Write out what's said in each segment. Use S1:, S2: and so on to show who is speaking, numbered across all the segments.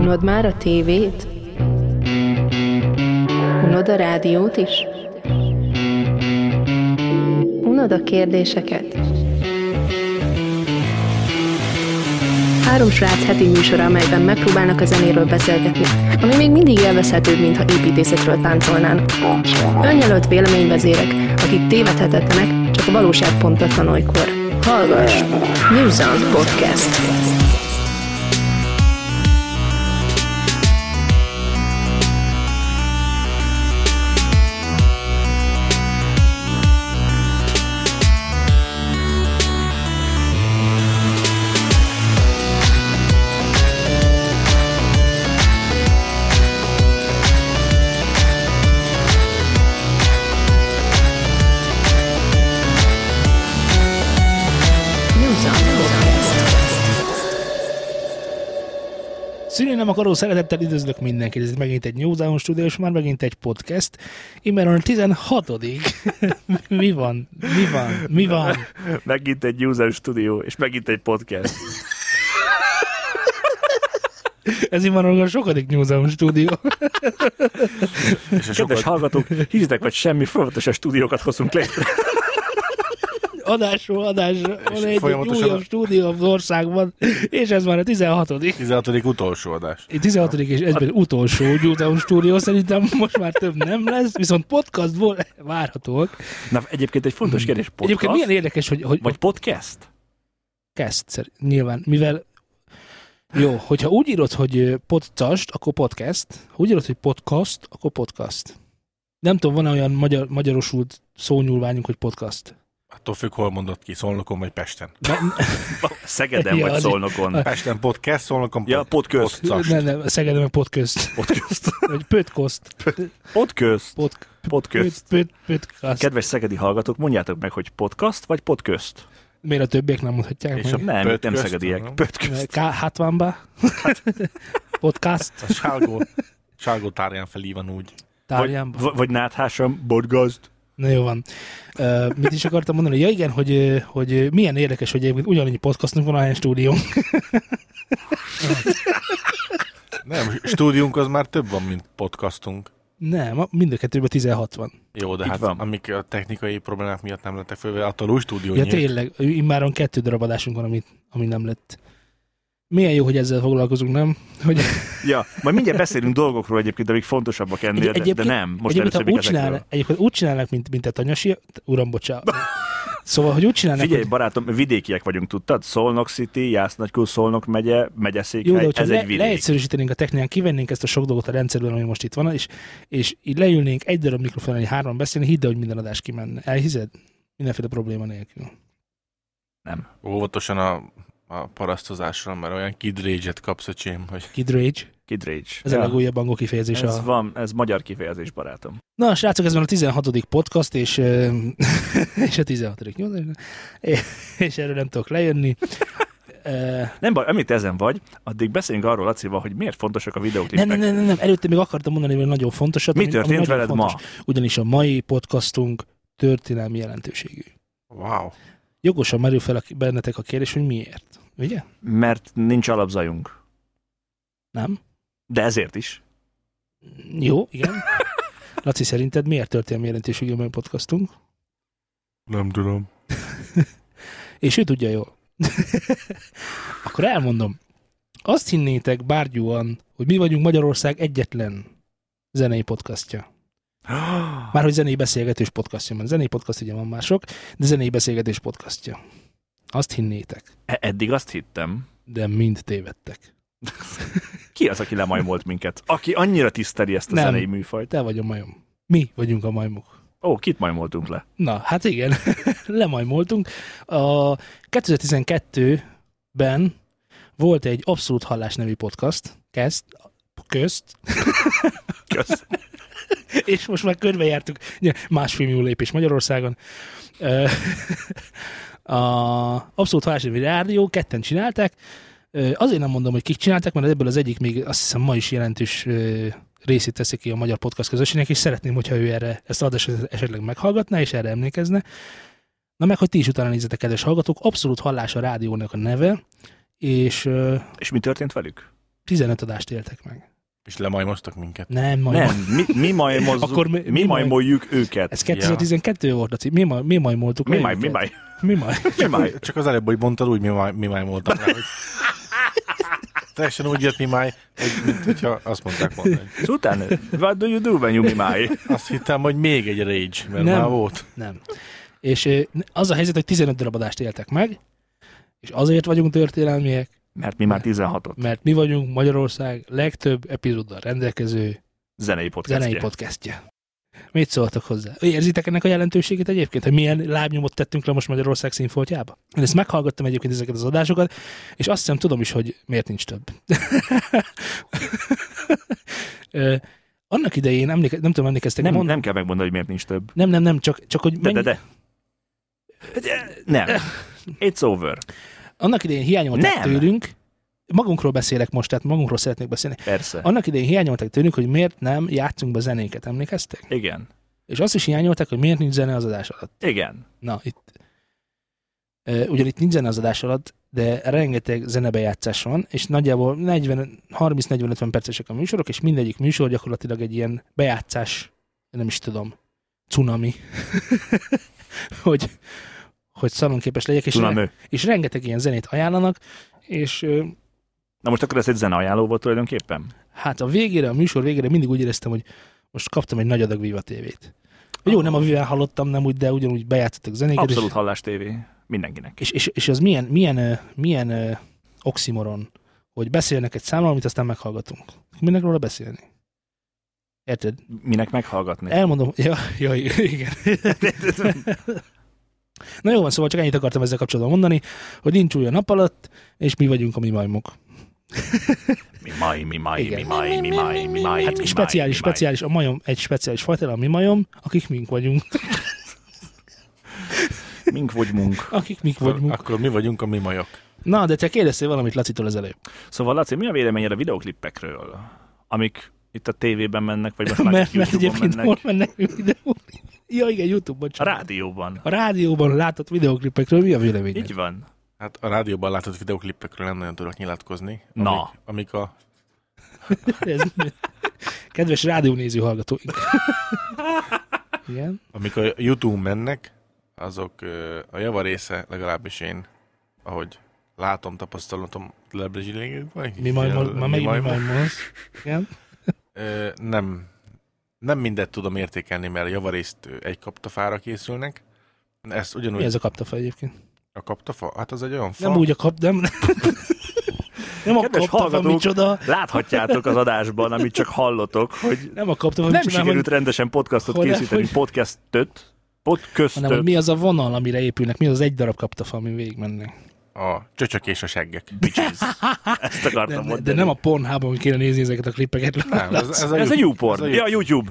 S1: Unod már a tévét? Unod a rádiót is? Unod a kérdéseket? Három srác heti műsora, amelyben megpróbálnak a zenéről beszélgetni, ami még mindig élvezhetőbb, mintha építészetről táncolnának. Önjelölt véleményvezérek, akik tévedhetetlenek, csak a valóság pontatlan olykor. Hallgass! New Sound Podcast. New Sound Podcast.
S2: Szülni nem akaró szeretettel üdvözlök mindenkit, ez itt megint egy New Zealand Studio, és már megint egy podcast. Immár a 16 Mi van? Mi van? Mi van?
S3: Megint egy user studio, és megint egy podcast.
S2: Ez immár a sokadik New Zealand Studio.
S3: És a Kedves hallgatók, higgyétek vagy semmi, folyamatosan stúdiókat hozunk létre.
S2: Adásról adásra. Van egy, egy
S4: folyamatosan-
S2: újabb stúdió az országban, és ez már a 16
S4: 16. utolsó adás.
S2: 16. és egyben utolsó New Zealand Studio, szerintem most már több nem lesz, viszont podcastból várhatóak.
S3: Na, egyébként egy fontos kérdés, podcast
S2: Egyébként milyen érdekes, hogy, hogy
S3: vagy podcast?
S2: podcast, szer- nyilván, mivel jó, hogyha úgy írod, hogy ö, podcast, akkor podcast, ha úgy írod, hogy podcast, akkor podcast. Nem tudom, van olyan magyar, magyarosult szónyúlványunk, hogy podcast.
S4: Attól függ, hol mondod ki, Szolnokon vagy Pesten.
S3: Szegeden
S2: Ja,
S3: vagy
S2: az-
S3: Szolnokon?
S4: Pesten podcast, Szolnokon
S3: Ja, podcast.
S4: podcast.
S2: Nem, nem, Szegeden a podcast,
S3: Podcast.
S2: vagy pötkost,
S3: Podcast.
S2: pod,
S3: Podcast.
S2: pöt, pöt, pötkost.
S3: Kedves szegedi hallgatók, mondjátok meg, hogy podcast vagy podcast.
S2: Miért a többiek nem mondhatják
S4: És
S2: meg?
S4: a-
S3: Nem, nem
S4: Podcast,
S3: szegediek.
S4: nem?
S3: Podcast.
S2: K- hát van be? Podcast,
S4: A Sálgó, Sálgó tárján felívan úgy.
S3: Vagy,
S2: tárgyámba.
S3: v- vagy náthásam, podcast.
S2: Na jó van. Uh, mit is akartam mondani? Ja igen, hogy, ö, hogy ö, milyen érdekes, hogy egyébként ugyanannyi podcastunk van, ahány stúdiónk.
S4: Nem, stúdiunk az már több van, mint podcastunk.
S2: Nem, a- mind a kettőben 16 van.
S4: Jó, de
S3: Így
S4: hát
S3: van.
S4: amik a technikai problémák miatt nem lettek fölve, attól új stúdió
S2: ja
S4: nyílt.
S2: tényleg, immáron kettő darab adásunk van, ami, ami nem lett. Milyen jó, hogy ezzel foglalkozunk, nem? Hogy
S3: Ja, majd mindjárt beszélünk dolgokról egyébként, amik fontosabbak ennél, de, de
S2: egyébként-
S3: nem. Most
S2: egyébként, ha
S3: először
S2: úgy, csinálnak,
S3: ezekről.
S2: egyébként úgy csinálnak, mint, mint a tanyasi, uram, bocsánat. Szóval, hogy úgy csinálnak,
S3: Figyelj,
S2: hogy...
S3: barátom, vidékiek vagyunk, tudtad? Szolnok City, Jásznagykül, Szolnok megye,
S2: Jó, de
S3: megyeszékhely,
S2: hogyha
S3: ez
S2: le,
S3: egy vidék.
S2: leegyszerűsítenénk a technikán, kivennénk ezt a sok dolgot a rendszerből, ami most itt van, és, és így leülnénk egy darab mikrofon elé hárman beszélni, hidd el, hogy minden adás kimenne. Elhiszed? Mindenféle probléma nélkül.
S4: Óvatosan a, a parasztozásról, mert olyan kidrégyet kapsz, öcsém, hogy
S2: Kid Rage,
S3: Kid Rage.
S2: ez a legújabb angol kifejezés.
S3: ez
S2: a...
S3: van, ez magyar kifejezés, barátom.
S2: Na, srácok, ez van a 16. podcast, és, ö, és a 16. nyolc, és erről nem tudok lejönni. Ö,
S3: Nem baj, amíg te ezen vagy, addig beszéljünk arról, Lacival, hogy miért fontosak a videóklipek.
S2: Nem, nem, nem, nem, nem, előtte még akartam mondani, hogy nagyon fontosat.
S3: Mi
S2: ami- ami
S3: történt
S2: nagyon
S3: veled
S2: fontos.
S3: ma?
S2: Ugyanis a mai podcastunk történelmi jelentőségű.
S4: wow.
S2: Jogosan merül fel a, bennetek a kérdés, hogy miért. Ugye?
S3: Mert nincs alapzajunk.
S2: Nem?
S3: De ezért is.
S2: Jó, igen. Laci, szerinted miért történelmi jelentőségű a mai podcastunk?
S4: Nem tudom.
S2: És ő tudja jól. Akkor elmondom. Azt hinnétek bárgyúan, hogy mi vagyunk Magyarország egyetlen zenei podcastja.
S3: E,
S2: Márhogy zenei beszélgetős podcastja, mert zenei podcast ugye van már sok, de zenei beszélgetés podcastja. Azt hinnétek,
S3: E- Eddig azt hittem.
S2: de mind tévedtek.
S3: Ki az, aki lemajmolt minket? Aki annyira tiszteli ezt a
S2: Nem.
S3: zenei műfajt.
S2: Te vagy a majom. Mi vagyunk a majmok.
S3: Ó, kit majmoltunk le?
S2: Na, hát igen, lemajmoltunk. A 2012-ben volt egy Abszolút Hallás nevű podcast, kezd, közt,
S3: Kösz.
S2: és most már körbejártuk ugye, másfél millió lépés Magyarországon. Ö, A Abszolút Hálásnévi Rádió ketten csinálták. Ö, Azért nem mondom, hogy kik csinálták, mert ebből az egyik még azt hiszem ma is jelentős ö, részét teszi ki a magyar podcast közösségnek, és szeretném, hogyha ő erre ezt az adást esetleg meghallgatná, és erre emlékezne. Na meg, hogy ti is utána nézzetek, kedves hallgatók, Abszolút Hallás a rádiónak a neve, és ö,
S3: És mi történt velük?
S2: 15 adást éltek meg.
S4: És lemajmoztak minket.
S2: Nem, majd.
S3: Nem, mi, mi, majmozzuk,
S2: Akkor mi- mi
S3: mi, mi
S2: maj-
S3: majmoljuk őket.
S2: Ez 2012 volt a cím. Mi, ma, mi majmoltuk.
S3: Mi
S2: le
S3: maj, mi
S2: őket.
S3: maj,
S2: Mi maj?
S3: mi maj.
S4: Csak az előbb, hogy mondtad, úgy mi máj, mi máj voltak rá, hogy... Teljesen úgy jött mi máj, hogy, mint hogyha azt mondták volna. hogy-
S3: És utána, what do you do when you mi maj?
S4: Azt hittem, hogy még egy rage, mert
S2: Nem.
S4: már volt.
S2: Nem. És ö, az a helyzet, hogy 15 darab adást éltek meg, és azért vagyunk történelmiek,
S3: Mert mi már 16-ot.
S2: mert mi vagyunk Magyarország legtöbb epizóddal rendelkező
S3: Zenei podcastje.
S2: zenei podcastje. Mit szóltak hozzá? Érzitek ennek a jelentőségét egyébként, hogy milyen lábnyomot tettünk le most Magyarország színfoltjába? Én ezt meghallgattam egyébként ezeket az adásokat, és azt hiszem tudom is, hogy miért nincs több. Ö, Annak idején, emléke, nem tudom, emlékeztek,
S3: Nem,
S2: mond-
S3: nem kell megmondani, hogy miért nincs több.
S2: nem, nem, nem, csak, csak hogy
S3: De,
S2: mennyi, Eh.
S3: de, de. Nem. It's over.
S2: annak idején hiányolták
S3: Nem.
S2: tőlünk, magunkról beszélek most, tehát magunkról szeretnék beszélni.
S3: Persze.
S2: Annak idején hiányolták tőlünk, hogy miért nem játszunk be zenéket, emlékeztek?
S3: Igen.
S2: És azt is hiányolták, hogy miért nincs zene az adás alatt.
S3: Igen.
S2: Na, itt. Ö, Ugyan itt nincs zene az adás alatt, de rengeteg zenebejátszás van, és nagyjából 40, 30-40-50 percesek a műsorok, és mindegyik műsor gyakorlatilag egy ilyen bejátszás, nem is tudom, cunami. hogy, hogy szalonképes legyek, és,
S3: Tudom
S2: re,
S3: ő.
S2: és rengeteg ilyen zenét ajánlanak, és ö,
S3: Na most akkor ez egy zeneajánló volt tulajdonképpen?
S2: hát a végére, a műsor végére mindig úgy éreztem, hogy most kaptam egy nagy adag Viva tévét. Jó, nem a Viván hallottam, nem úgy, de ugyanúgy bejátszottak zenéket, és-
S3: Abszolút hallás tévé. Mindenkinek.
S2: És, és, és az milyen, milyen, ö, milyen ö, oximoron, hogy beszélnek egy számról, amit aztán meghallgatunk. Minek róla beszélni? Érted?
S3: Minek meghallgatni?
S2: Elmondom. Ja, ja igen. Na jó van, szóval csak ennyit akartam ezzel kapcsolatban mondani, hogy nincs új a nap alatt, és mi vagyunk a mi majmok.
S3: Mi maj, mi maj,
S2: Igen.
S3: mi maj, mi maj, mi maj, mi
S2: Hát
S3: maj,
S2: speciális,
S3: mi maj.
S2: speciális, a majom egy speciális fajta, a mi majom, akik mink vagyunk.
S3: Mink vagy munk.
S2: Akik mink
S4: Akkor,
S2: vagyunk.
S4: akkor mi vagyunk a mi majok.
S2: Na, de te kérdeztél valamit Lacitól az előbb.
S3: Szóval Laci, mi a véleményed a videoklippekről? Amik itt a tévében mennek, vagy most már
S2: Mert,
S3: itt
S2: mert
S3: YouTube-on
S2: egyébként
S3: mennek?
S2: hol mennek videó? Ja, igen, YouTube,
S3: A
S2: bocsánat.
S3: rádióban.
S2: A rádióban látott videoklipekről mi a véleményed?
S3: Így van.
S4: Hát a rádióban látott videoklipekről nem nagyon tudok nyilatkozni.
S3: Na.
S4: Amik, amik a...
S2: Ez, kedves rádiónéző hallgatóink. Igen.
S4: Amik a YouTube mennek, azok ö, a java része, legalábbis én, ahogy látom, tapasztalatom, lebezsilégekben.
S2: Mi majd, ma, ma megint mi majd most. Igen.
S4: Ö, nem, nem mindet tudom értékelni, mert javarészt ö, egy kaptafára készülnek. Ezt ugyanúgy
S2: Mi
S4: ez?
S2: ez a kaptafa egyébként?
S4: a kaptafa? Hát az egy olyan fa.
S2: Nem úgy a kap, nem, nem a
S3: Kedves
S2: kaptafa,
S3: hallgatók!
S2: micsoda,
S3: Láthatjátok az adásban, amit csak hallotok, hogy
S2: nem a kaptafa,
S3: nem
S2: micsoda,
S3: sikerült
S2: hanem-
S3: rendesen podcastot
S2: Hogy-
S3: készíteni,
S2: hogy-
S3: podcastöt, podcastöt.
S2: hanem hogy mi az a vonal, amire épülnek, mi az az egy darab kaptafa, amin végigmennek.
S4: A csöcsök és a seggek.
S3: Ezt akartam
S2: De,
S3: mondani.
S2: de nem a Pornhub-on kéne nézni ezeket a klippeket.
S4: Nem, ez, ez, a,
S3: Ez a
S4: Ez a,
S3: YouPorn. Ja,
S4: YouTube.
S3: a YouTube.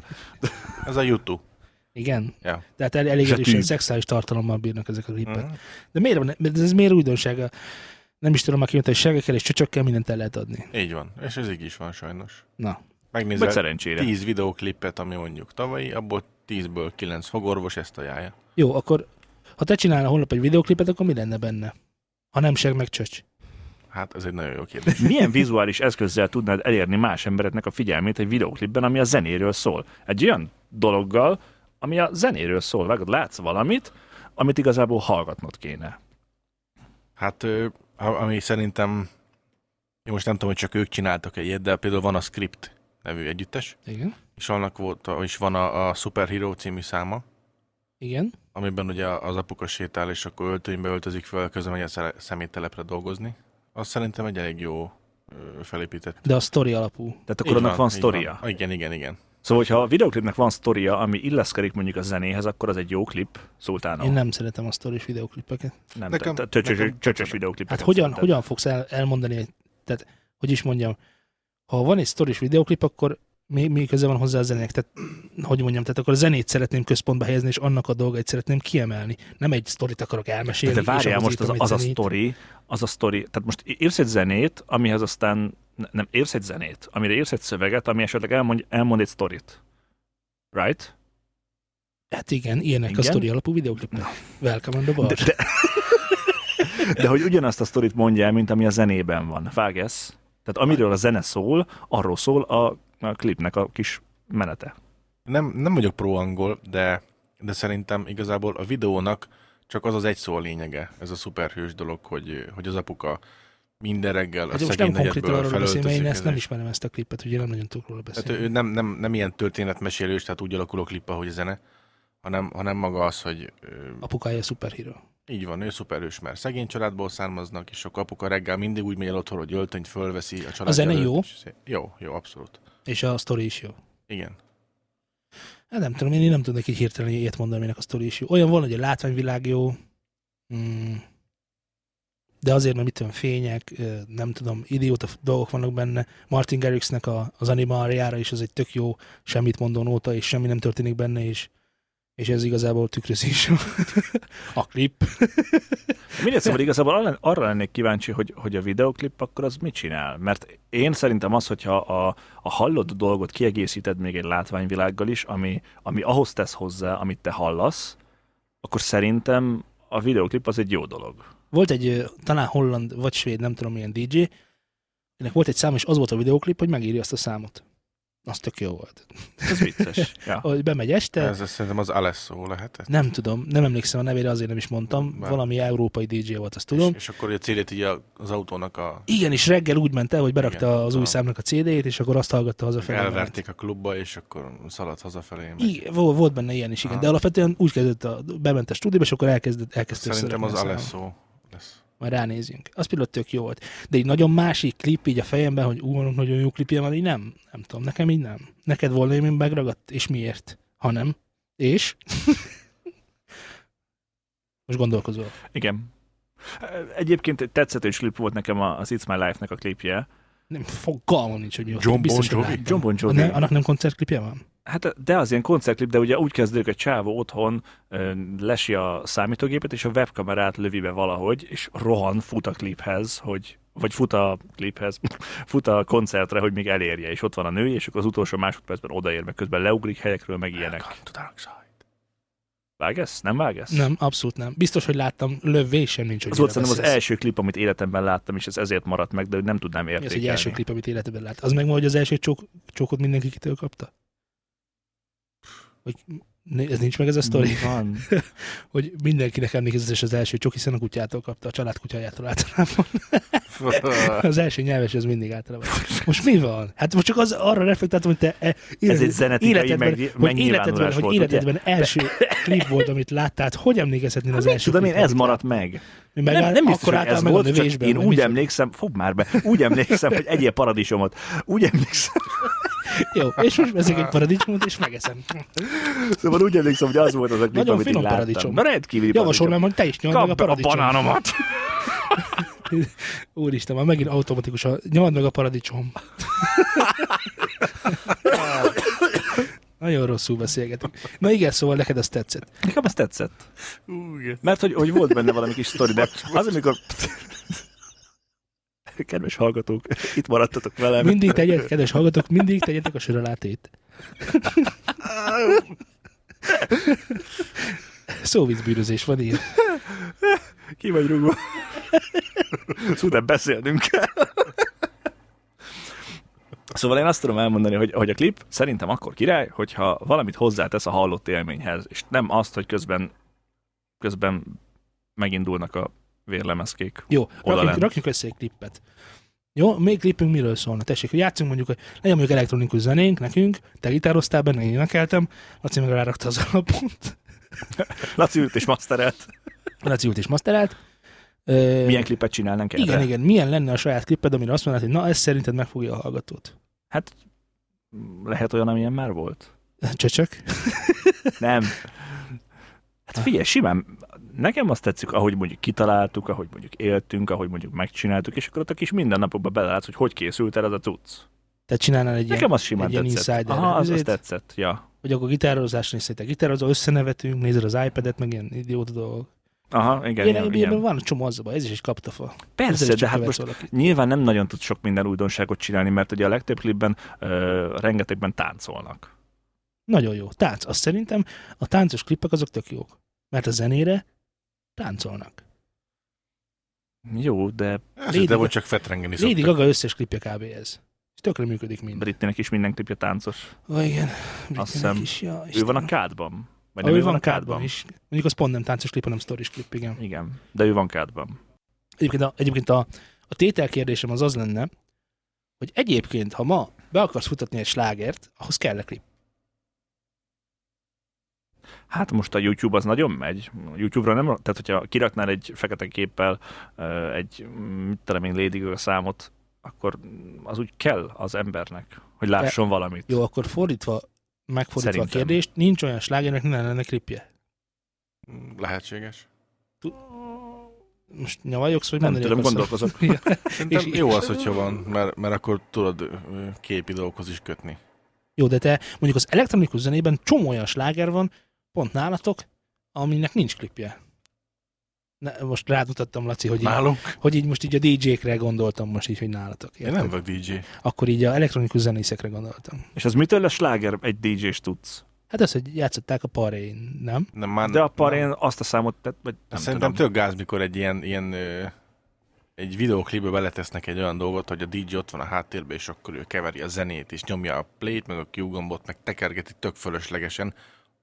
S4: ez a YouTube.
S2: Igen.
S4: Ja.
S2: Tehát el, elég
S3: És a
S2: erősen
S3: tűz.
S2: szexuális tartalommal bírnak ezek a klippek.
S4: Mhm.
S2: De miért van? mert Ez miért újdonsága? Nem is tudom, aki mondta, hogy segekkel és csöcsökkel mindent el lehet adni.
S4: Így van. És ez így is van sajnos.
S2: Na,
S3: Vagy
S4: Megnézel
S3: szerencsére.
S4: 10 videoklipet, ami mondjuk tavalyi, abból 10-ből 9 fogorvos ezt ajánlja.
S2: jó, akkor ha te csinálnál holnap egy videoklipet, akkor mi lenne benne? Ha nem seg meg csöcs.
S4: Hát ez egy nagyon jó kérdés.
S3: Milyen vizuális eszközzel tudnád elérni más embereknek a figyelmét egy videóklipben, ami a zenéről szól? Egy olyan dologgal, ami a zenéről szól. Vágod, látsz valamit, amit igazából hallgatnod kéne.
S4: Hát, ö, a- ami szerintem, én most nem tudom, hogy csak ők csináltak ilyet, de például van a Script nevű együttes,
S2: Igen.
S4: és annak volt, a- és van a, a Superhero című száma,
S2: Igen.
S4: amiben ugye az apuka sétál, és akkor öltönybe öltözik föl, közben megy a szere- szeméttelepre dolgozni. Az szerintem egy elég jó ö, felépített.
S2: De a sztori alapú.
S3: Tehát Hát akkor annak van,
S4: így
S3: sztoria.
S4: Van. Igen, igen, igen.
S3: Szóval, hogyha a videoklipnek van sztoria, ami illeszkedik mondjuk a zenéhez, akkor az egy jó klip, szultána.
S2: Én nem szeretem a sztoris videoklipeket.
S3: nem
S4: Nekem-
S3: nekem, csöcsös,
S4: nekem-
S3: csöcsös videoklip.
S2: Hát hogyan, hogyan fogsz el, elmondani, egy- tehát, hogy is mondjam, ha van egy sztoris videoklip, akkor mi, mi köze van hozzá a zenének? Tehát, hogy mondjam, tehát akkor a zenét szeretném központba helyezni, és annak a dolgait szeretném kiemelni. Nem egy sztorit akarok elmesélni.
S3: De
S2: és
S3: várjál
S2: ahhoz
S3: most az,
S2: írtam egy
S3: az a
S2: zenét.
S3: sztori, az a sztori. Tehát most írsz egy zenét, amihez aztán ne- nem írsz egy zenét, amire írsz egy szöveget, ami esetleg elmond, elmond egy sztorit. Right?
S2: Hát igen, ilyenek igen? a
S3: Igen?
S2: sztori alapú videoklipek. No. Welcome on the Hát bar.
S3: De, de, de hogy ugyanazt a sztorit mondja el, mint ami a zenében van. Vágesz? Tehát amiről a zene szól, arról szól a, a klipnek a kis menete.
S4: Nem, nem vagyok pro-angol, de, de szerintem igazából a videónak csak az az egy szó a lényege, ez a szuperhős dolog, hogy, hogy az apuka minden reggel a
S2: Hát most
S4: szegény
S2: nem konkrétan
S4: negyedből
S2: arról beszélünk, mert én ezt
S4: felöltözik.
S2: nem ismerem ezt a klipet, ugye nem nagyon tudok róla
S3: Hát
S4: Tehát
S2: beszélni.
S4: ő nem, nem, nem ilyen történetmesélős, tehát úgy alakul a klip, ahogy a zene, hanem, hanem maga az, hogy ö,
S2: Apukája a szuperhíró.
S4: így van, ő szuperhős, mert szegény családból származnak, és sok apuka reggel mindig úgy megy el otthon, hogy öltönyt fölveszi a család
S2: zene
S4: előtt,
S2: jó?
S4: és szé- Jó, jó, abszolút.
S2: És a sztori is jó.
S4: Igen.
S2: Hát nem tudom, én így nem tudnék így hirtelen ilyet mondani, aminek a sztori is jó. Olyan van, hogy a látványvilág jó, mm. de azért, mert mit tudom, fények, ö, nem tudom, idióta f- dolgok vannak benne. Martin Garrixnek a, az animáriára is az egy tök jó, semmit mondó nóta, és semmi nem történik benne, és, és ez igazából tükrözi is a- a klip.
S3: Mindegy, szóval igazából arra- arra lennék kíváncsi, hogy, hogy a videoklip akkor az mit csinál. Mert én szerintem az, hogyha a, a hallott dolgot kiegészíted még egy látványvilággal is, ami, ami ahhoz tesz hozzá, amit te hallasz, akkor szerintem a videoklip az egy jó dolog.
S2: Volt egy ö, talán holland vagy svéd, nem tudom milyen DJ, ennek volt egy szám, és az volt a videóklip, hogy megírja azt a számot. Az tök jó volt.
S3: Ez vicces. Ja.
S2: Hogy bemegy este,
S4: Ez, ez szerintem az Alessio lehetett.
S2: Nem tudom, nem emlékszem a nevére, azért nem is mondtam.
S4: Bár-
S2: Valami európai DJ volt, azt tudom.
S4: És, és akkor a céljét így a- az autónak a,
S2: Igen, és reggel úgy ment el, hogy berakta
S4: Igen,
S2: az új
S4: tudom.
S2: számnak a CD-jét, és akkor azt hallgatta hazafelé.
S4: elverték a klubba, és akkor szaladt hazafelé. meg-
S2: Igen, vo- volt benne ilyen is, igen.
S4: Aha.
S2: De alapvetően úgy kezdett, a, bement a stúdióba, és akkor elkezdett, elkezdte
S4: Szerintem
S2: összerakni
S4: az
S2: a számot.
S4: Alessio lesz.
S2: Majd ránézünk. Az például tök jó volt. De egy nagyon másik klip így a fejemben, hogy ú, annak nagyon jó klipje van, így nem. Nem tudom, nekem így nem. Neked volna, mint megragadt, és miért? Ha nem. És? Most gondolkozol.
S3: Igen. Egyébként egy tetszetős klip volt nekem a- az It's My Life-nek a klipje.
S2: Nem, fogalmam nincs, hogy mi ott.
S4: John
S2: Biztos, hogy
S4: Bon Jovi?
S2: láttam.
S3: John Bon Jovi.
S2: Ne, annak nem koncertklipje van?
S3: Hát de az ilyen koncertklip, de ugye úgy kezdődik, hogy Csávó otthon ö, lesi a számítógépet, és a webkamerát lövi be valahogy, és rohan, fut a kliphez, hogy vagy fut a kliphez, fut a koncertre, hogy még elérje, és ott van a nő, és akkor az utolsó másodpercben odaér, meg közben leugrik helyekről, meg ilyenek.
S4: Welcome to dark side.
S3: Vág ezt? Nem vág ezt?
S2: Nem, abszolút nem. Biztos, hogy láttam, lövés sem nincs, hogy
S3: Az volt
S2: mire
S3: szerintem az
S2: beszélsz.
S3: első klip, amit életemben láttam, és ez ezért maradt meg, de hogy nem tudnám
S2: Mi
S3: értékelni.
S2: az egy első klip, amit életedben lát. Az meg ma, hogy az első csók, csókot mindenki kitől kapta? Vagy né- ez nincs meg ez a sztori,
S3: Mi Van.
S2: hogy mindenkinek emlékezetes az első csók, hiszen a kutyától kapta, a család kutyájától általában. Az első nyelves, ez mindig általában. Most mi van? Hát most csak az, arra reflektáltam, hogy te e,
S3: Ez egy zenetikai meg-
S2: életedben, hogy életedben,
S3: megnyilvánulás
S2: hogy
S3: volt,
S2: életedben első klip volt, amit láttál, hát hogy emlékezhetnél az
S3: Mit
S2: első
S3: Hát tudom én,
S2: klipre,
S3: ez
S2: amit
S3: maradt meg.
S2: Mi Meg
S3: nem, nem biztos, hogy
S2: álltál
S3: ez
S2: meg
S3: volt,
S2: a
S3: csak
S2: növésben,
S3: én
S2: vagy
S3: úgy
S2: mit?
S3: emlékszem, fogd már be, úgy emlékszem, hogy egyél paradicsomot. Úgy emlékszem,
S2: Jó, és most veszek egy paradicsomot, és megeszem.
S3: szóval úgy emlékszem, hogy az volt az a klip,
S2: Nagyon
S3: amit
S2: finom
S3: így láttam.
S2: paradicsom.
S3: Na rendkívüli
S2: Javasolnám, hogy te is nyomd meg a
S3: Kapd a,
S2: paradicsomot.
S3: banánomat.
S2: Úristen, már megint automatikus, a- nyomd meg a paradicsom. Nagyon rosszul beszélgetünk. Na igen, szóval neked ez tetszett.
S3: Nekem ez tetszett.
S4: Ú, igen.
S3: Mert hogy, hogy volt benne valami kis sztori, de az, amikor... Kedves hallgatók, itt maradtatok velem.
S2: Mindig tegyet, kedves hallgatók, mindig tegyetek a sör alá tét. Szóvízbűnözés van ilyen.
S3: Ki vagy rúgva? Szóval nem beszélnünk kell. Szóval én azt tudom elmondani, hogy, hogy a klip szerintem akkor király, hogyha valamit hozzátesz a hallott élményhez, és nem azt, hogy közben, közben megindulnak a vérlemezkék.
S2: Jó, rakjunk,
S3: lent.
S2: rakjunk össze egy klippet. Jó, még klipünk miről szólna? Tessék, hogy játszunk mondjuk, hogy legyen mondjuk elektronikus zenénk nekünk, te gitároztál benne, én énekeltem, Laci meg rárakta az alapot,
S3: Laci ült és masterelt.
S2: Laci ült és masterelt. Ö,
S3: Milyen klipet csinálnánk erre?
S2: igen, igen, milyen lenne a saját klipped, amire azt mondanád, hogy na, ez szerinted megfogja a hallgatót.
S3: Lehet olyan, amilyen már volt?
S2: Csöcsök.
S3: Nem. Hát figyelj, simán, nekem azt tetszik, ahogy mondjuk kitaláltuk, ahogy mondjuk éltünk, ahogy mondjuk megcsináltuk, és akkor ott a kis mindennapokban belelátsz, hogy hogy készült el az a cucc.
S2: Tehát csinálnál egy
S3: Nekem
S2: ilyen,
S3: az simán
S2: egy ilyen
S3: tetszett.
S2: insider
S3: Aha, az, az
S2: izét.
S3: tetszett, ja.
S2: hogy akkor gitározás nézsz, te gitározol, összenevetünk, nézed az iPad-et, meg ilyen idióta dolgok.
S3: Aha, igen,
S2: Ilyen,
S3: igen,
S2: ilyen,
S3: igen.
S2: van csomó az a baj, ez is egy kaptafa. Ezzel
S3: Persze,
S2: is
S3: de
S2: csak
S3: hát
S2: követsz
S3: most
S2: valakit.
S3: nyilván nem nagyon tud sok minden újdonságot csinálni, mert ugye a legtöbb klipben ö, rengetegben táncolnak.
S2: Nagyon jó. Tánc. Azt szerintem a táncos klippek azok tök jók. Mert a zenére táncolnak.
S3: Jó, de
S4: Ez
S2: Lady
S4: de
S2: Gaga-
S4: volt csak fetrengeni
S2: Lady
S4: szoktak.
S2: Gaga összes klipje kb. ez. És tökre működik mind.
S3: Britnének is minden klipje táncos.
S2: Ó, igen. Britneynek
S3: hiszem,
S2: is, ja,
S3: Ő
S2: Istenem.
S3: van a kádban. Vagy
S2: Ah,
S3: nem
S2: ő van a kádban is. Mondjuk az pont nem táncos klip, hanem sztoris klip, igen.
S3: Igen, de ő van kádban.
S2: Egyébként a, egyébként a, a tételkérdésem az az lenne, hogy egyébként, ha ma be akarsz futatni egy slágert, ahhoz kell a klip.
S3: Hát most a YouTube az nagyon megy. A YouTube-ra nem, tehát hogyha kiraknál egy fekete képpel ö, egy, mm, mit tudom én, Lady Gaga számot, akkor az úgy kell az embernek, hogy lásson valamit.
S2: Jó, akkor fordítva, megfordítva Szerintem. a
S3: Szerintem.
S2: kérdést, nincs olyan slágernek, ne lenne klipje.
S4: Lehetséges.
S2: Most nyavajogsz, hogy
S3: Nem
S2: nagyon
S3: tudom,
S2: akarsz-
S3: gondolkozok.
S2: Ja.
S4: Szerintem
S2: És-
S4: jó
S2: és-
S4: az, hogyha van, mert, mert akkor tudod ö, képi dolgokhoz is kötni.
S2: Jó, de te mondjuk az elektronikus zenében csomó olyan sláger van, pont nálatok, aminek nincs klipje. Ne, most rád mutattam, Laci, hogy így,
S4: Nálunk?
S2: hogy így most így a DJ-kre gondoltam most így, hogy nálatok.
S4: Én
S2: Érted?
S4: nem vagyok DJ.
S2: Akkor így a elektronikus zenészekre gondoltam.
S3: És az mitől lesz sláger egy DJ-s tudsz?
S2: Hát az, hogy játszották a parén, nem?
S4: Nem, már,
S3: De a
S4: nem.
S3: parén azt a számot, tehát, vagy nem
S4: Szerintem
S3: tudom.
S4: tök gáz, mikor egy ilyen, ilyen ö, egy videóklipbe beletesznek egy olyan dolgot, hogy a DJ ott van a háttérben, és akkor ő keveri a zenét, és nyomja a play-t, meg a Q gombot, meg tekergeti tök fölöslegesen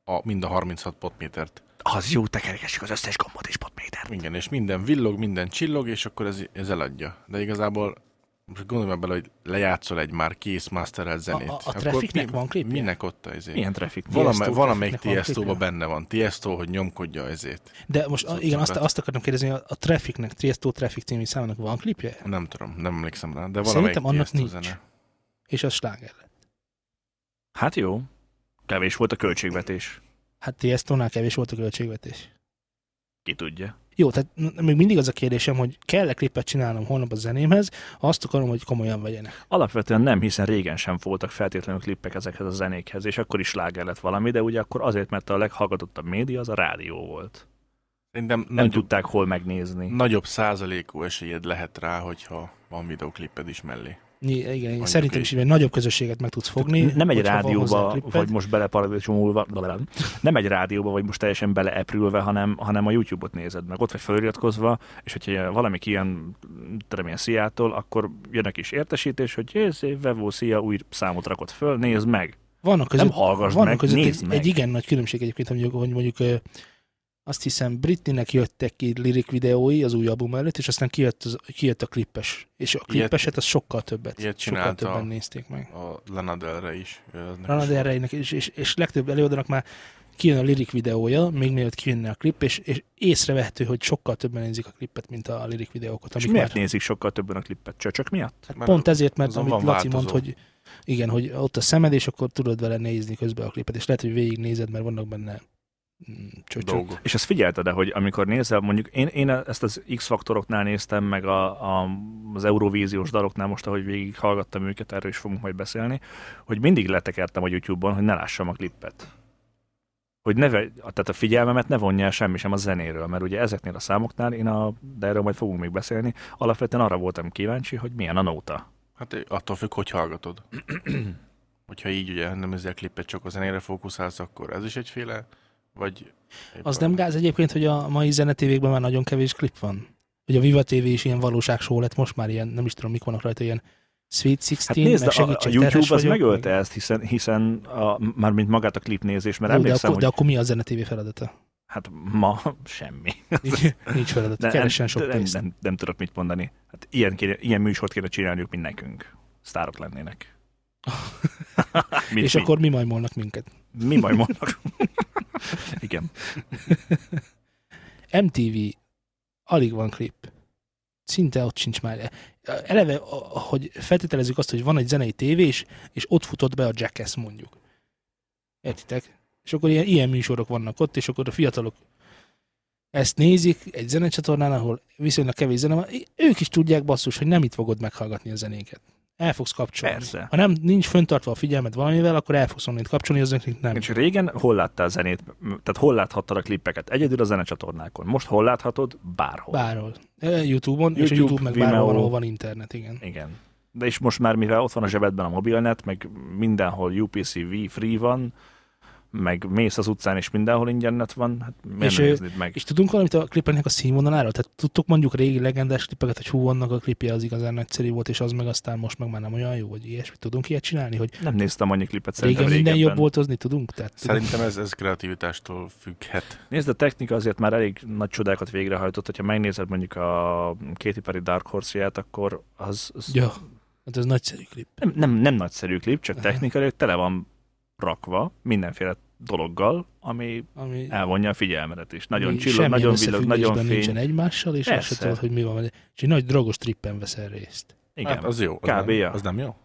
S4: a, mind a 36 potmétert.
S3: Az jó, tekergessük az összes gombot és potméter.
S4: Igen, és minden villog, minden csillog, és akkor ez, ez eladja. De igazából most gondolj már bele, hogy lejátszol egy már kész masterelt zenét.
S2: a
S4: Akkor
S2: Trafficnek van klipje?
S4: Minek ott a ezért?
S3: Milyen traffic?
S4: Valame,
S2: Tiesto
S4: valamelyik
S2: Trafficnek van
S4: Tiesto-ba
S2: klipje?
S4: benne van. Tiesto, hogy nyomkodja ezért.
S2: De most
S4: Szóval
S2: a, igen, azt,
S4: többet.
S2: azt akartam kérdezni, a, a Trafficnek, Triesto Traffic című számának van klipje?
S4: Nem tudom, nem emlékszem rá, de valamelyik
S2: Szerintem annak
S4: Tiesto
S2: nincs.
S4: zene.
S2: És az sláger.
S3: Hát jó. Kevés volt a költségvetés.
S2: Hát Tiesto-nál kevés volt a költségvetés.
S3: Ki tudja.
S2: Jó, tehát n- még mindig az a kérdésem, hogy kell-e klipet csinálnom holnap a zenémhez, ha azt akarom, hogy komolyan vegyenek.
S3: Alapvetően nem, hiszen régen sem voltak feltétlenül klippek ezekhez a zenékhez, és akkor is sláger lett valami, de ugye akkor azért, mert a leghallgatottabb média az a rádió volt.
S4: Szerintem
S3: Nem
S4: nagyobb-
S3: tudták hol megnézni.
S4: nagyobb százalékú esélyed lehet rá, hogyha van videokliped is mellé.
S2: Ny- igen,
S4: Mondjuk
S2: szerintem
S4: így.
S2: is egy nagyobb közösséget meg tudsz fogni.
S3: Nem egy
S2: hogyha van hozzá
S3: rádióba,
S2: klipped.
S3: vagy most beleparadicsomulva, blablabla. nem egy rádióba, vagy most teljesen beleeprülve, hanem, hanem a YouTube-ot nézed meg. Ott vagy feliratkozva, és hogyha valami ilyen, tudom én, Sziától, akkor jön egy kis értesítés, hogy ez Vevó Szia új számot rakott föl, nézd meg.
S2: Vannak között,
S3: nem hallgass
S2: vannak
S3: meg,
S2: között
S3: nézd
S2: egy,
S3: meg.
S2: egy igen nagy különbség egyébként, hogy mondjuk, hogy mondjuk ö, azt hiszem Britneynek jöttek ki lirik videói az új album előtt, és aztán kijött, az, kijött a klippes. És a
S4: Ilyet-
S2: klippeset az sokkal többet.
S4: ilyet
S2: sokkal
S4: csinálta
S2: többen nézték meg.
S4: A Lana Del Rey is. ő aznak
S2: Lana
S4: is
S2: Del
S4: volt.
S2: Rey-nek, és, és, és legtöbb előadónak már kijön a lirik videója, még mielőtt kijönne a klip, és, és észrevehető, hogy sokkal többen nézik a klipet, mint a lirik videókat.
S3: És
S2: Amik
S3: miért
S2: már,
S3: nézik sokkal többen a klippet? Csöcsök miatt?
S2: hát
S4: Mert
S2: pont ezért, mert
S4: azon
S2: amit Laci
S4: van
S2: mond,
S4: változó.
S2: hogy igen, hogy ott a szemed, és akkor tudod vele nézni közben a klipet, és lehet, hogy végignézed, mert vannak benne mm, csöcsök.
S4: Dolgok.
S3: És ezt figyelted de hogy amikor nézel, mondjuk én, én ezt az X-faktoroknál néztem, meg a, a, az Eurovíziós daloknál most, ahogy végig hallgattam őket, erről is fogunk majd beszélni, hogy mindig letekertem a YouTube-on, hogy ne lássam a klippet. Hogy ne, ve- tehát a figyelmemet ne vonja el semmi sem a zenéről, mert ugye ezeknél a számoknál, én a, de erről majd fogunk még beszélni, alapvetően arra voltam kíváncsi, hogy milyen a nóta.
S4: Hát attól függ, hogy hallgatod. Hogyha így ugye nem ezzel klipet, csak a zenére fókuszálsz, akkor ez is egyféle, vagy...
S2: Az nem gáz egyébként, hogy a mai zenetévékben már nagyon kevés klip van. Hogy a Viva TV is ilyen valóságsó lett, most már ilyen, nem is tudom, mik vannak rajta, ilyen Sweet
S3: Hát
S2: Sixteen,
S3: nézd,
S2: meg
S3: a, a
S2: segítség, terhes
S3: YouTube az
S2: vagyok,
S3: megölte
S2: meg-
S3: ezt, hiszen, hiszen a, mármint magát a klipnézés, mert
S2: Jó, de,
S3: emlékszem,
S2: akkor, de
S3: hogy
S2: akkor mi a zenetévé feladata?
S3: hát ma semmi.
S2: Nincs, nincs feladat, keresen sok
S3: nem,
S2: pénzt.
S3: nem, nem, tudok mit mondani. Hát ilyen, kéne, ilyen műsort kéne csinálniuk, mint nekünk. Sztárok lennének. mint
S2: És
S3: mi.
S2: akkor mi majmolnak minket?
S3: Mi majd mondnak? Igen.
S2: MTV, alig van klip. Szinte ott sincs már. Eleve, a- hogy feltételezzük azt, hogy van egy zenei tévés, és ott futott be a Jackass mondjuk. Értitek? És akkor ilyen, ilyen műsorok vannak ott, és akkor a fiatalok ezt nézik egy zenecsatornán, ahol viszonylag kevés zene van. Ők is tudják basszus, hogy nem itt fogod meghallgatni a zenéket. El fogsz kapcsolni.
S3: Persze.
S2: Ha nem, nincs föntartva a figyelmed valamivel, akkor el fogsz onnét kapcsolni, az nekik nem.
S3: És régen hol láttál zenét, tehát hol láthattad a klippeket? Egyedül a zenecsatornákon. Most hol láthatod? Bárhol.
S2: Bárhol. E, Youtube-on, YouTube, és a
S3: YouTube,
S2: Youtube meg bárhol,
S3: Vimeo.
S2: ahol van internet, igen.
S3: Igen. De és most már, mivel ott van a zsebedben a mobilnet, meg mindenhol UPC-V free van, meg mész az utcán, és mindenhol ingyennet van, hát miért
S2: És,
S3: ne
S2: ö,
S3: néznéd meg?
S2: És tudunk valamit a klipeknek a színvonaláról? Tehát tudtuk mondjuk régi legendás klipeket, hogy hú, annak a klipje az igazán nagyszerű volt, és az meg aztán most meg már nem olyan jó, vagy ilyesmit. Tudunk ilyet csinálni, hogy
S3: Nem néztem annyi klipet szerintem
S2: régen minden
S3: régebben.
S2: jobb volt hozni, tudunk? Tehát,
S4: Szerintem ez, ez kreativitástól függhet.
S3: Nézd, a technika azért már elég nagy csodákat végrehajtott, hogyha megnézed mondjuk a Katy Perry Dark Horse-ját, akkor az, az
S2: Ja, hát ez nagyszerű klip.
S3: nem, nem, nem nagyszerű klip, csak
S2: Aha.
S3: technikailag tele van rakva mindenféle dologgal, ami
S2: Ami
S3: elvonja a figyelmedet is. Nagyon
S2: ami
S3: csillog,
S2: semmilyen
S3: nagyon villog, nagyon
S2: összefüggésben
S3: fény.
S2: nincsen egymással, és azt se
S3: Persze.
S2: tudod, hogy mi van. vele. És egy nagy drogos trippen veszel részt.
S3: Igen.
S4: Hát az jó. Az,
S3: Kb. ja.
S4: nem, az nem jó?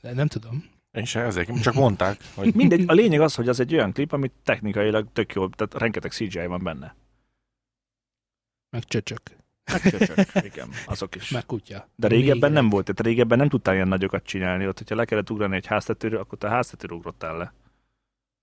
S2: De Nem tudom.
S4: Én se ezek, csak mondták, hogy
S3: Mindegy, a lényeg az, hogy az egy olyan klip, amit technikailag tök jó, tehát rengeteg CGI van benne.
S2: Meg csöcsök.
S3: Hát csöcsök, igen, azok is.
S2: Meg kutya.
S3: De régebben nem volt, tehát régebben nem tudtál ilyen nagyokat csinálni, ott, hogyha le kellett ugrani egy háztetőről, akkor te a háztetőről ugrottál le.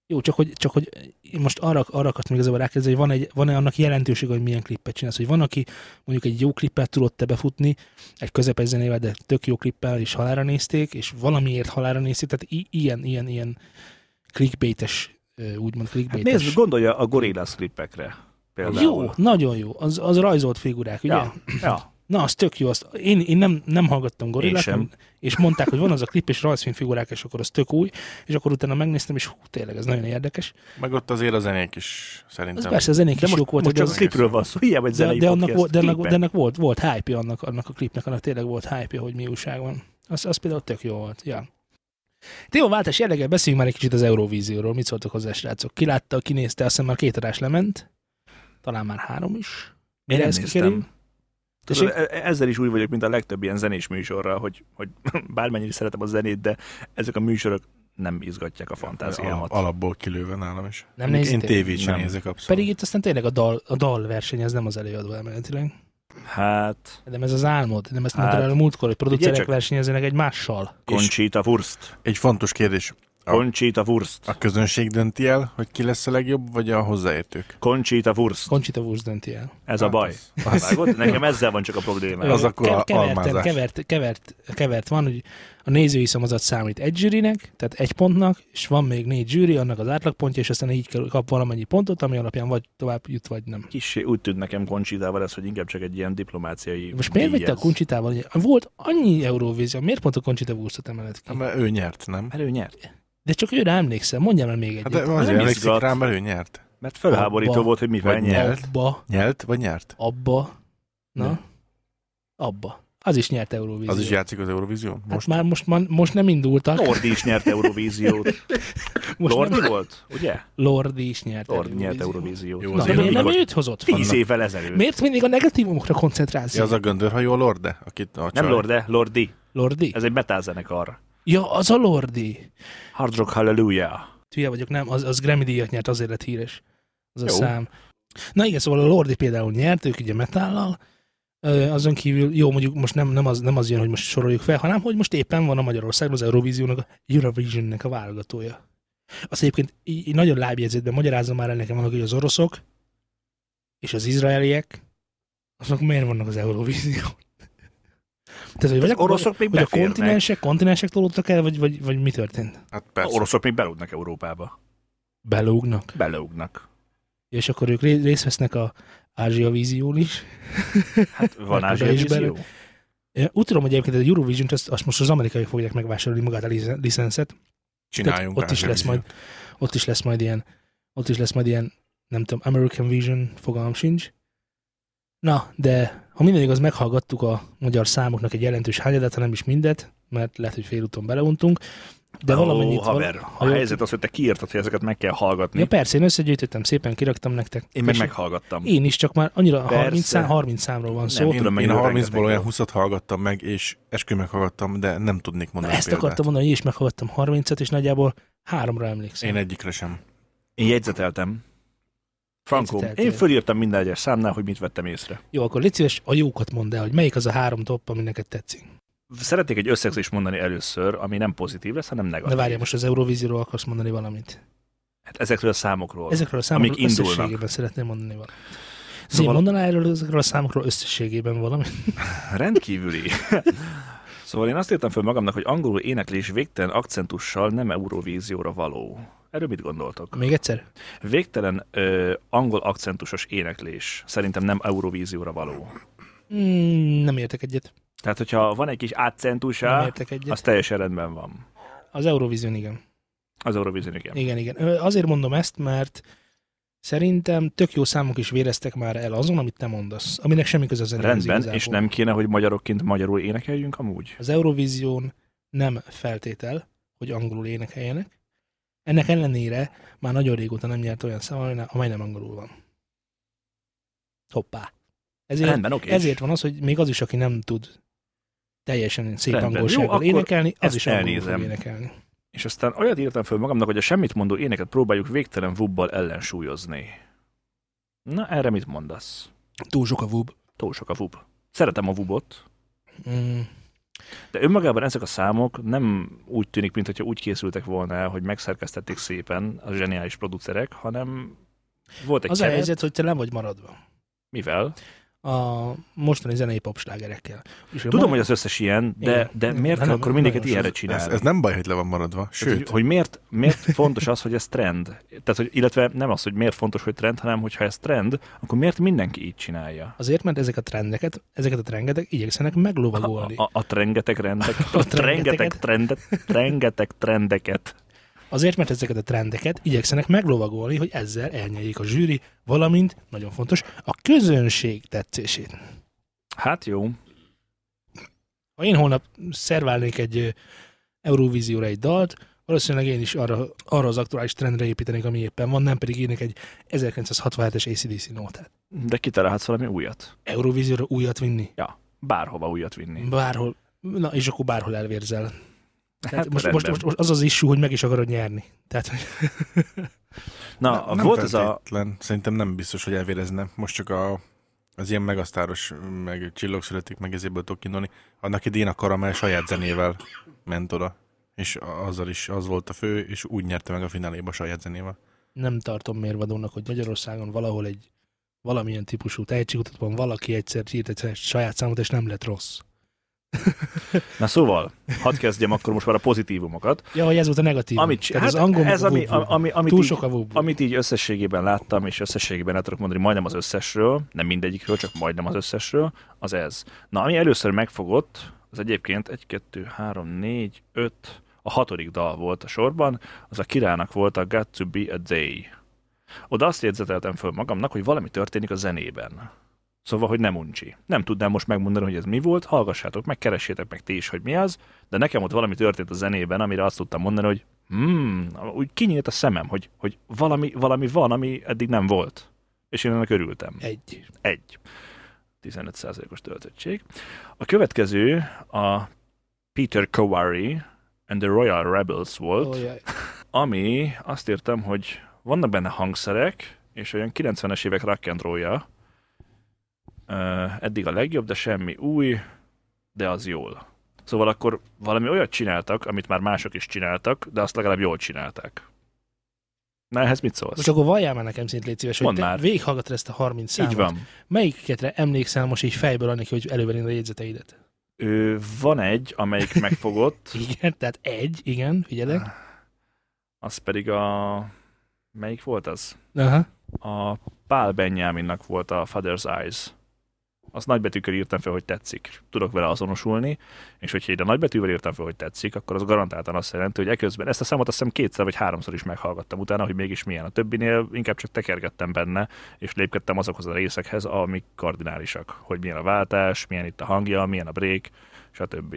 S2: Jó, csak hogy, csak hogy én most arra, arra akartam igazából rákérdezni, hogy van egy, van-e annak jelentősége, hogy milyen klippet csinálsz, hogy van, aki mondjuk egy jó klippel tudott te befutni, egy közepes zenével, de tök jó klippel is halára nézték, és valamiért halára nézték, tehát i- ilyen, ilyen, ilyen clickbaites, ö, úgymond
S3: Hát
S2: clickbaites.
S3: nézd, gondolja a gorillas klipekre például.
S2: jó, nagyon jó, az, az rajzolt figurák, ugye?
S3: Ja, ja.
S2: Na, az tök jó. Azt, én, én nem, nem hallgattam gorillát,
S3: sem.
S2: nem- és mondták, hogy van az a klip, és rajzfilmfigurák, és akkor az tök új, és akkor utána megnéztem, és hú, tényleg ez nagyon érdekes.
S4: meg ott azért a zenék is
S2: Ez
S4: szerintem.
S2: persze a zenék
S3: De
S2: is
S3: most,
S2: jók voltak, de,
S3: most csak a
S2: az,
S4: az-
S3: klipről van szó, hiába egy
S2: de,
S3: zenei
S2: de, annak,
S3: podcast,
S2: volt, de, annak,
S3: klipek.
S2: de annak volt, volt hype annak, annak a klipnek, annak tényleg volt hype hogy mi újság van. Az, az például tök jó volt, ja. Témaváltás jelleggel beszéljünk már egy kicsit az Eurovízióról. Mit szóltak hozzá, srácok? Ki látta, ki nézte, azt hiszem már két adás lement. Talán már három is.
S3: Én nem
S2: ez kikerül?
S3: néztem. Tudod,
S2: Tessék?
S3: e- ezzel is úgy vagyok, mint a legtöbb ilyen zenés műsorral, hogy, hogy bármennyire is szeretem a zenét, de ezek a műsorok nem izgatják a
S4: Alap,
S3: fantáziámat.
S4: alapból kilőve nálam is.
S2: Nem
S4: Én-
S2: néztél?
S4: Én tévét sem
S3: Nem.
S4: nézek abszolút.
S2: Pedig itt aztán tényleg a dal, a dal verseny, ez nem az előadó emeletileg.
S3: Hát,
S2: Nem ez az álmod, nem ezt mondtad
S3: Hát,
S2: el a múltkor, hogy producerek
S3: csak.
S2: versenyezzenek egymással.
S3: Conchita Wurst.
S4: Egy fontos kérdés. A-
S3: Conchita Wurst.
S4: A közönség dönti el, hogy ki lesz a legjobb, vagy a hozzáértők?
S3: Conchita Wurst.
S2: Conchita Wurst dönti el.
S3: Ez a
S4: Hát
S3: baj.
S4: az-
S3: Vágod? Nekem ezzel van csak a probléma.
S4: Az akkor a
S2: keverten,
S4: almázás.
S2: kevert, kevert, kevert van, hogy a nézői szavazat számít egy zsűrinek, tehát egy pontnak, és van még négy zsűri, annak az átlagpontja, és aztán így kell- kap valamennyi pontot, ami alapján vagy tovább jut, vagy nem.
S3: Kissé úgy tűnt nekem Conchitával ez, hogy inkább csak egy ilyen diplomáciai
S2: Most miért
S3: díj
S2: vette a
S3: ez.
S2: Conchitával? hogy Volt annyi Eurovízió, miért pont a Conchita Wurstot emelett ki?
S4: Hát, mert ő nyert, nem?
S3: Mert ő nyert.
S2: De csak őre emlékszem, mondjam el még
S4: Hát
S2: egyet.
S4: de azért emlékszik
S3: izgat.
S4: rá, mert ő nyert.
S3: Mert fölháborító
S2: Abba.
S3: volt, hogy mivel
S4: Vagy
S3: nyert.
S4: nyert.
S2: Abba,
S4: Nyert, vagy nyert?
S2: abba, na,
S4: Ne.
S2: abba. Az is nyert Eurovízió.
S4: Az is játszik az Eurovízión?
S2: Hát
S4: Most?
S2: már most, már, most nem indultak.
S3: Lordi is nyert Eurovíziót.
S2: most
S3: Lordi
S2: nem,
S3: volt, ugye?
S2: Lordi is nyert
S3: Lordi nyert Eurovíziót.
S4: Jó,
S2: Na,
S4: az
S2: de miért nem
S3: amikor
S2: őt hozott?
S3: Tíz
S2: Annak?
S3: évvel ezelőtt.
S2: Miért mindig a negatívumokra koncentrálsz?
S4: Ja, az a göndörhajó a Lorde? Akit a
S3: Nem
S4: csaj-
S3: Lorde, Lordi.
S2: Lordi?
S3: Ez egy metalzenekar.
S2: Ja, az a Lordi.
S3: Hard Rock Hallelujah.
S2: Hülye vagyok, nem, az, az Grammy díjat nyert, azért lett híres. Az a
S4: Jó.
S2: szám. Na igen, szóval a Lordi például nyert, ők ugye metállal, Ö, azon kívül, jó, mondjuk most nem, nem, az, nem az jön, hogy most soroljuk fel, hanem hogy most éppen van a Magyarországon az Eurovíziónak, a Eurovisionnek a válogatója. Azt egyébként így, így nagyon lábjegyzetben magyarázza már el nekem annak, hogy az oroszok és az izraeliek, azok miért vannak az Eurovízión? Tehát, hogy vagy
S3: Az
S2: a,
S3: oroszok még
S2: vagy a
S3: beférnek.
S2: kontinensek, kontinensek tolódtak el, vagy, vagy, vagy mi történt?
S4: Hát
S3: Az
S4: persze.
S3: oroszok még belúgnak Európába.
S2: Belógnak.
S3: Belúgnak.
S2: És akkor ők ré- részt vesznek a Ázsia vízión is.
S3: Hát van
S2: Mert oda
S3: Ázsia
S2: is
S3: vízió.
S2: bele- Én Úgy tudom, hogy egyébként a Eurovision-t azt, azt most az amerikai fogják megvásárolni magát a lizen- licenszet.
S4: Csináljunk
S2: ott is
S4: rá
S2: lesz majd.
S4: Eurovíziót.
S2: Ott is lesz majd ilyen, ott is lesz majd ilyen, nem tudom, American Vision, fogalmam sincs. Na, de ha minden igaz, meghallgattuk a magyar számoknak egy jelentős hányadát, ha nem is mindet, mert lehet, hogy félúton beleuntunk, de valamennyit...
S3: Ó, haver,
S2: vala- ha
S3: a
S2: jól
S3: helyzet az, hogy te kiírtad, hogy ezeket meg kell hallgatni.
S2: Ja persze, én összegyűjtöttem, szépen kiraktam nektek.
S3: Én meg
S2: És-
S3: meghallgattam.
S2: Én is, csak már annyira a 30,
S3: Persze.
S2: szám, 30 számról van szó.
S3: Nem,
S4: Én,
S3: Tudom,
S4: én
S3: mennyire
S4: 30-ból
S3: rengeteg
S4: olyan
S3: jó.
S4: 20-at hallgattam meg, és eskü meghallgattam, de nem tudnék
S2: Na,
S4: mondani
S2: ezt
S4: példát.
S2: akartam mondani, hogy én is meghallgattam 30-et, és nagyjából háromra emlékszem.
S4: Én egyikre sem.
S3: Én jegyzeteltem. Frankó,
S2: Jegyzeteltél.
S3: én fölírtam minden egyes számnál, hogy mit vettem észre.
S2: Jó, akkor légy szíves, a jókat mondd el, hogy melyik az a három top, ami neked tetszik.
S3: Szeretnék egy összegzést mondani először, ami nem pozitív lesz, hanem negatív.
S2: De várjál, most az Eurovízióról akarsz mondani valamit.
S3: Hát ezekről a számokról.
S2: Ezekről a számokról
S3: Amik indulnak.
S2: összességében szeretném mondani valamit. Szóval...
S3: Szóval-
S2: mondanál erről ezekről a számokról összességében valamit?
S3: Rendkívüli. Szóval én azt írtam föl magamnak, hogy angolul éneklés végtelen akcentussal nem Eurovízióra való. Erről mit gondoltok?
S2: Még egyszer?
S3: Végtelen ö, angol akcentusos éneklés szerintem nem Eurovízióra való.
S2: Mm, nem értek egyet.
S3: Tehát, hogyha van egy kis
S2: Nem
S3: accentusa,
S2: értek egyet.
S3: az teljesen rendben van.
S2: Az Eurovision, igen.
S3: Az Eurovízión igen.
S2: Igen, igen. Ö, Azért mondom ezt, mert szerintem tök jó számok is véreztek már el azon, amit te mondasz, aminek semmi köze az
S3: Rendben, és nem kéne, hogy magyarokként magyarul énekeljünk amúgy?
S2: Az Eurovízión nem feltétel, hogy angolul énekeljenek. Ennek ellenére már nagyon régóta nem nyert olyan szám, amely ne- amely nem angolul van. Hoppá. Ezért,
S3: Rendben, oké.
S2: ezért van az, hogy még az is, aki nem tud teljesen szép
S3: Rendben. Jó,
S2: angolsággal
S3: akkor
S2: énekelni, az
S3: ezt
S2: is angolul fog
S3: elnézem.
S2: énekelni.
S3: És aztán olyat írtam föl magamnak, hogy a semmit mondó éneket próbáljuk végtelen vubbal ellensúlyozni. Na, erre mit mondasz?
S2: Túl sok a vub.
S3: Túl sok a vub. Szeretem a vubot,
S2: Mm.
S3: de önmagában ezek a számok nem úgy tűnik, mintha úgy készültek volna el, hogy megszerkesztették szépen a zseniális producerek, hanem volt egy
S2: Az a
S3: keret,
S2: helyzet, hogy te nem vagy maradva.
S3: mivel?
S2: a mostani zenei popslágerekkel. És
S3: Tudom, hogy az összes ilyen, de,
S2: Igen.
S3: de
S2: Igen.
S3: miért kell
S2: Nem,
S3: akkor mindenkit
S2: nagyon sok.
S3: ilyenre
S4: Ez,
S3: csinálni?
S4: ez nem baj, hogy le van maradva.
S3: Tehát, hogy,
S4: Sőt,
S3: hogy miért, miért fontos az, hogy ez trend? Tehát, hogy, illetve nem az, hogy miért fontos, hogy trend, hanem hogyha ez trend, akkor miért mindenki így csinálja?
S2: Azért, mert ezek a trendeket, ezeket a trendeket igyekszenek meglovagolni.
S3: A, a, a rengeteg rendek,
S2: A
S3: a, rengeteg
S2: trengeteket.
S3: trendet, rengeteg trendeket.
S2: Azért, mert ezeket a trendeket igyekszenek meglovagolni, hogy ezzel elnyeljék a zsűri, valamint, nagyon fontos, a közönség tetszését.
S3: Hát jó,
S2: Ha én holnap szerválnék egy ö, Eurovízióra egy dalt, valószínűleg én is arra, arra az aktuális trendre építenék, ami éppen van, nem pedig írnék egy 1967-es ACDC nótát.
S3: de kitalálhatsz valami újat.
S2: Eurovízióra újat vinni?
S3: Ja, bárhova újat vinni.
S2: Bárhol. Na, és akkor bárhol elvérzel. Tehát
S3: Hát
S2: most, most,
S3: rendben.
S2: most, most az az issú, hogy meg is akarod nyerni. Tehát, hogy
S3: Na,
S4: nem
S3: volt ez a...
S4: feltétlen. Szerintem nem biztos, hogy elvérezne. Most csak a, az ilyen megasztáros, meg csillog születik, meg ezéből tudok indulni. Annak idén a karamell saját zenével ment oda. És a- azzal is az volt a fő, és úgy nyerte meg a fináléba a saját zenével.
S2: nem tartom mérvadónak, hogy Magyarországon valahol egy valamilyen típusú tehetségkutatban valaki egyszer írt egy saját számot, és nem lett rossz.
S3: Na szóval, hadd kezdjem akkor most már a pozitívumokat.
S2: Ja, hogy ez volt a negatív.
S3: Amit,
S2: Tehát
S3: hát,
S2: az angol
S3: ez, ami, ami, amit
S2: túl
S3: így-
S2: sok a vub.
S3: Amit így összességében láttam, és összességében el tudok mondani majdnem az összesről, nem mindegyikről, csak majdnem az összesről, az ez. Na, ami először megfogott, az egyébként 1, 2, 3, 4, 5, a hatodik dal volt a sorban, az a királynak volt a Got to be a day. Oda azt jegyzeteltem föl magamnak, hogy valami történik a zenében. Szóval, hogy nem uncsi. Nem tudnám most megmondani, hogy ez mi volt, hallgassátok meg, keressétek meg ti is, hogy mi az, de nekem ott valami történt a zenében, amire azt tudtam mondani, hogy hmm, úgy kinyílt a szemem, hogy, hogy valami, valami van, ami eddig nem volt. És én ennek örültem.
S2: Egy.
S3: Egy. 15%-os töltöttség. A következő a Peter Kowari and the Royal Rebels volt
S2: Ó, jaj.
S3: ami azt írtam, hogy vannak benne hangszerek, és olyan 90-es évek rock and roll-ja. Ö, Eddig a legjobb, de semmi új, de az jól. Szóval akkor valami olyat csináltak, amit már mások is csináltak, de azt legalább jól csinálták. Na, ehhez mit szólsz?
S2: Most akkor valljál már nekem szint légy szíves, hogy
S3: Mondd
S2: te
S3: már.
S2: végighallgatod ezt a 30 számot.
S3: Így van.
S2: Melyiketre emlékszel most így fejből annak, hogy elővennéd a jegyzeteidet?
S3: Ö, van egy, amelyik megfogott,
S2: Igen, tehát egy, igen, figyelek.
S3: az pedig a... Melyik volt az?
S2: Aha.
S3: A Pál Benjaminnak volt a Father's Eyes. Azt nagybetűkkel írtam fel, hogy tetszik. Tudok vele azonosulni, és hogyha ide nagybetűvel írtam fel, hogy tetszik, akkor az garantáltan azt jelenti, hogy eközben ezt a számot azt hiszem kétszer vagy háromszor is meghallgattam utána, hogy mégis milyen. A többinél inkább csak tekergettem benne, és lépkedtem azokhoz a részekhez, amik kardinálisak. Hogy milyen a váltás, milyen itt a hangja, milyen a break, stb.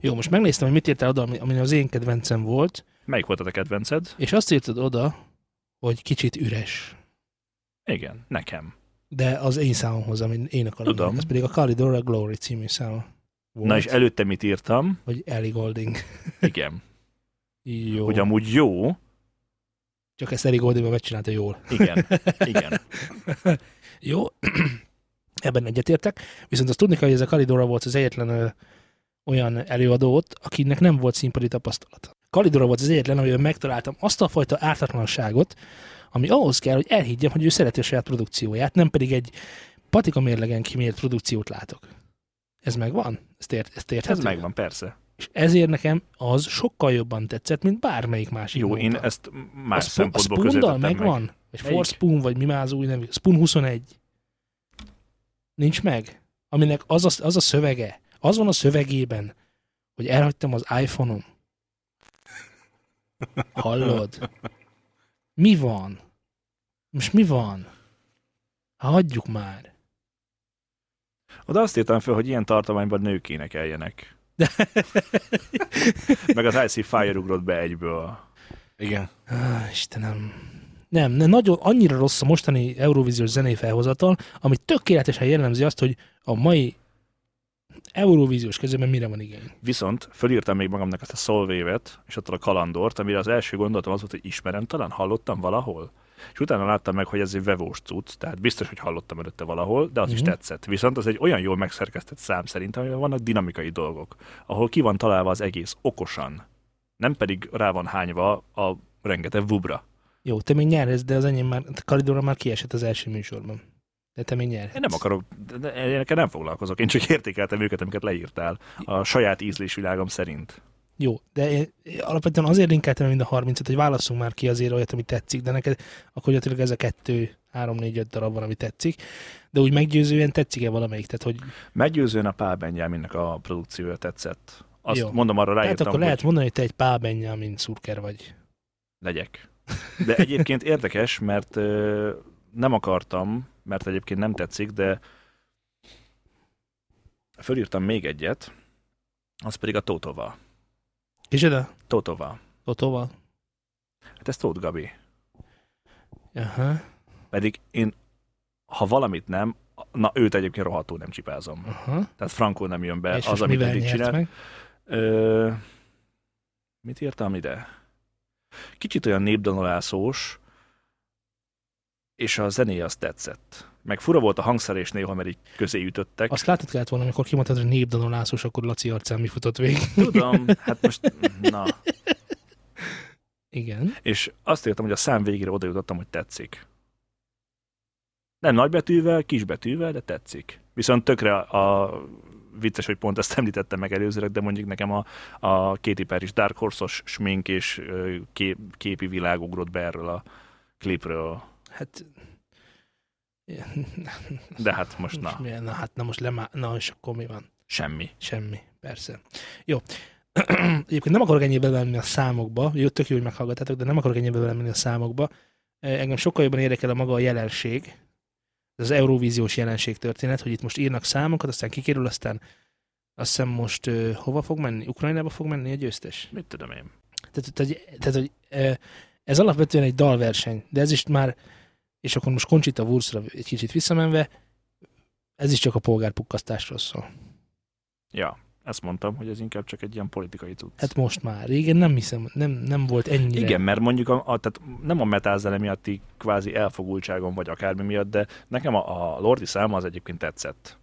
S2: Jó, most megnéztem, hogy mit írtál oda, ami, ami az én kedvencem volt,
S3: Melyik volt a te kedvenced?
S2: és azt írtad oda, hogy kicsit üres.
S3: Igen, nekem.
S2: De az én számomhoz, amin én akarom.
S3: Tudom.
S2: Ez pedig a Calidora Glory című szám. Volt,
S3: Na és előtte mit írtam?
S2: Vagy Ellie Golding.
S3: Igen.
S2: Jó.
S3: Hogy amúgy jó,
S2: Csak ezt Ellie Goldingban megcsinálta jól.
S3: igen, igen.
S2: Jó. Ebben egyetértek. Viszont azt tudni kell, hogy ez a Calidora volt az egyetlen ö, olyan előadó ott, akinek nem volt színpadi tapasztalata. Kalidora volt az egyetlen, amiben megtaláltam azt a fajta ártatlanságot, ami ahhoz kell, hogy elhiggyem, hogy ő szereti a saját produkcióját, nem pedig egy patika mérlegen kimért produkciót látok. Ez megvan? Ezt, ért, ezt
S3: Ez
S2: érthető?
S3: megvan, persze.
S2: És ezért nekem az sokkal jobban tetszett, mint bármelyik másik.
S3: Jó,
S2: nóta.
S3: én ezt más
S2: a Spo-
S3: szempontból
S2: a
S3: közé
S2: Spoon-dal
S3: tettem meg.
S2: megvan? Vagy
S3: Melyik?
S2: Forspoon, vagy mi más új nevű? Spoon 21. Nincs meg? Aminek az a, az a szövege, az van a szövegében, hogy elhagytam az iPhone-om. Hallod? Mi van? Most mi van? Ha hagyjuk már.
S3: Oda azt írtam fel, hogy ilyen tartományban nők énekeljenek. Meg az IC Fire ugrott be egyből.
S4: Igen.
S2: Ah, Istenem. Nem, nem, nagyon annyira rossz a mostani Eurovíziós zenei felhozatal, ami tökéletesen jellemzi azt, hogy a mai Eurovíziós közében mire van igény.
S3: Viszont fölírtam még magamnak ezt a szolvévet, és attól a kalandort, amire az első gondolatom az volt, hogy ismerem, talán hallottam valahol. És utána láttam meg, hogy ez egy vevós cucc, tehát biztos, hogy hallottam előtte valahol, de az is
S2: Mhm.
S3: tetszett. Viszont az egy olyan jól megszerkesztett szám szerint, amiben vannak dinamikai dolgok, ahol ki van találva az egész okosan, nem pedig rá van hányva a rengeteg vubra.
S2: Jó, te még nyerhetsz, de az enyém már, a Kalidóra már kiesett az első műsorban. De te még nyerhetsz.
S3: Én nem akarok, de- de- én nekem nem foglalkozok, én csak értékeltem őket, amiket leírtál a saját ízlésvilágom szerint.
S2: Jó, de én, én alapvetően azért linkeltem mind a 30-et, hogy válasszunk már ki azért olyat, ami tetszik, de neked akkor gyakorlatilag ez a kettő, három, négy, öt darab van, ami tetszik. De úgy meggyőzően tetszik-e valamelyik? Tehát, hogy hát
S3: Meggyőzően a Pál Benjaminnek a produkciója tetszett. Azt
S2: Jó.
S3: Jó. mondom, arra
S2: hát
S3: ráírtam,
S2: akkor lehet
S3: hogy
S2: mondani, hogy te egy Pál Benjamin szurker vagy.
S3: legyek. De egyébként érdekes, mert ö, nem akartam, mert egyébként nem tetszik, de fölírtam még egyet, az pedig a Tótova.
S2: És oda?
S3: Tótova.
S2: Totova?
S3: Hát ez Tóth Gabi.
S2: Aha,
S3: Pedig én, ha valamit nem, na őt egyébként rohadtul nem csipázom.
S2: aha.
S3: Tehát Frankó nem jön be,
S2: és
S3: az,
S2: most
S3: amit
S2: mivel
S3: eddig
S2: nyert
S3: csinált.
S2: meg?
S3: Ö, mit írtam ide? Kicsit olyan népdanolászós, és a zenéje az tetszett. Meg fura volt a hangszer és néha, mert így közé ütöttek. Azt
S2: Azt látod kellett volna, amikor kimondtad, hogy népdanolászos, akkor Laci arcán mi futott végig.
S3: tudom, hát most, na.
S2: Igen.
S3: És azt írtam, hogy a szám végére oda jutottam, hogy tetszik. Nem nagybetűvel, kisbetűvel, de tetszik. Viszont tökre a vicces, hogy pont ezt említettem meg előzőleg, de mondjuk nekem a, a Katy Perry is Dark Horse-os smink és ö, kép, képi világ ugrott be erről a klipről.
S2: Hát...
S3: De hát most
S2: Na.
S3: na,
S2: na, hát na most lemá... Na, és akkor mi van?
S3: semmi.
S2: Semmi, persze. Jó. Egyébként nem akarok ennyibe belemenni a számokba, jó, tök jó, hogy meghallgattátok, de nem akarok ennyibe belemenni a számokba. Eh, Engem sokkal jobban érdekel a maga a jelenség, ez az Eurovíziós jelenség történet, hogy itt most írnak számokat, aztán kikerül, aztán azt hiszem most ö, hova fog menni? Ukrajnába fog menni a győztes?
S3: Mit tudom én.
S2: Tehát, tehát, tehát hogy ö, ez alapvetően egy dalverseny, de ez is már, és akkor most Conchita Wurzra egy kicsit visszamenve, ez is csak a polgárpukkasztásról szól.
S3: Ja, ezt mondtam, hogy ez inkább csak egy ilyen politikai cucc.
S2: Hát most már. Régen nem hiszem, nem, nem volt ennyire.
S3: Igen, mert mondjuk a, a, tehát nem a metázene miatti kvázi elfogultságom, vagy akármi miatt, de nekem a, a Lordi száma az egyébként tetszett.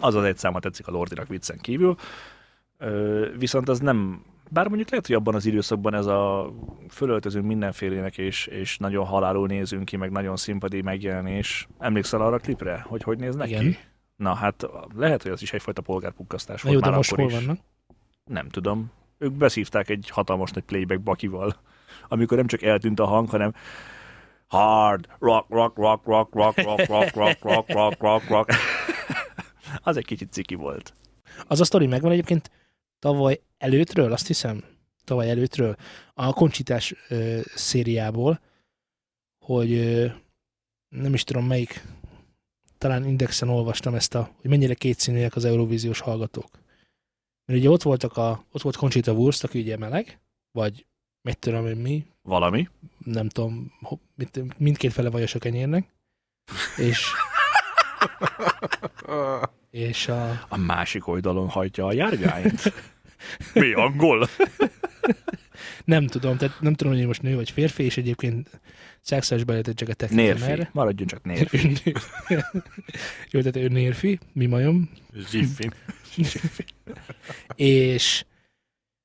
S3: Az az egy száma tetszik a Lordinak viccen kívül, Ö, viszont az nem, bár mondjuk lehet, hogy abban az időszakban ez a fölöltözünk mindenfélének, és, és nagyon halálul nézünk ki, meg nagyon színpadi megjelenés. Emlékszel arra a klipre, hogy hogy néz neki?
S2: Igen.
S3: Na hát lehet, hogy az is egyfajta polgárpukkasztás
S2: Na
S3: volt
S2: jó,
S3: már
S2: de most
S3: akkor
S2: hol
S3: is.
S2: vannak?
S3: Nem tudom. Ők beszívták egy hatalmas nagy playback bakival, amikor nem csak eltűnt a hang, hanem hard, rock, rock, rock, rock, rock, rock, rock, rock, rock, rock, rock, rock. Az egy kicsit ciki volt.
S2: Az a sztori megvan egyébként tavaly előttről, azt hiszem, tavaly előttről, a koncsitás ö, szériából, hogy ö, nem is tudom melyik, talán Indexen olvastam ezt a, hogy mennyire kétszínűek az Eurovíziós hallgatók. Mert ugye ott, voltak a, ott volt Conchita Wurst, aki ugye meleg, vagy mit tudom én mi,
S3: Valami.
S2: nem tudom, ho- mit- mindkét fele vajas a kenyérnek, és, és a,
S3: A másik oldalon hajtja a járgányt. Mi angol?
S2: Nem tudom, tehát nem tudom, hogy én most nő vagy férfi, és egyébként szexuális bejelentettséget tekintem
S3: Nérfi.
S2: erre.
S3: Maradjon csak nérfi.
S2: Ő nő. Jó, tehát ő nérfi, mi majom.
S4: Zsiffin.
S2: És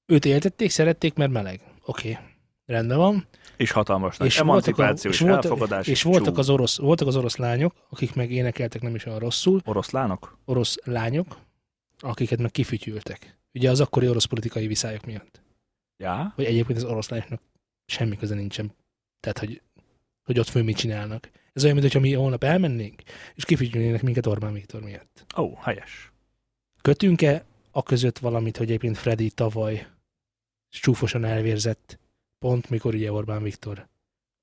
S2: őt éltették, szerették, mert meleg. Oké, okay. rendben van.
S3: És hatalmas nagy
S2: És voltak a-
S3: emancipáció és,
S2: és voltak-
S3: elfogadás.
S2: És voltak
S3: Csú.
S2: az, orosz, voltak az orosz lányok, akik meg énekeltek nem is olyan rosszul,
S3: oroszlánok?
S2: orosz lányok, akiket meg kifütyültek. Ugye az akkori orosz politikai viszályok miatt.
S3: Ja?
S2: Hogy egyébként az oroszlányoknak semmi köze nincsen. Tehát, hogy, hogy ott föl mit csinálnak. Ez olyan, mintha mi holnap elmennénk, és kifigyelnének minket Orbán Viktor miatt.
S3: Ó, oh, helyes.
S2: Kötünk-e a között valamit, hogy egyébként Freddy tavaly csúfosan elvérzett, pont mikor ugye Orbán Viktor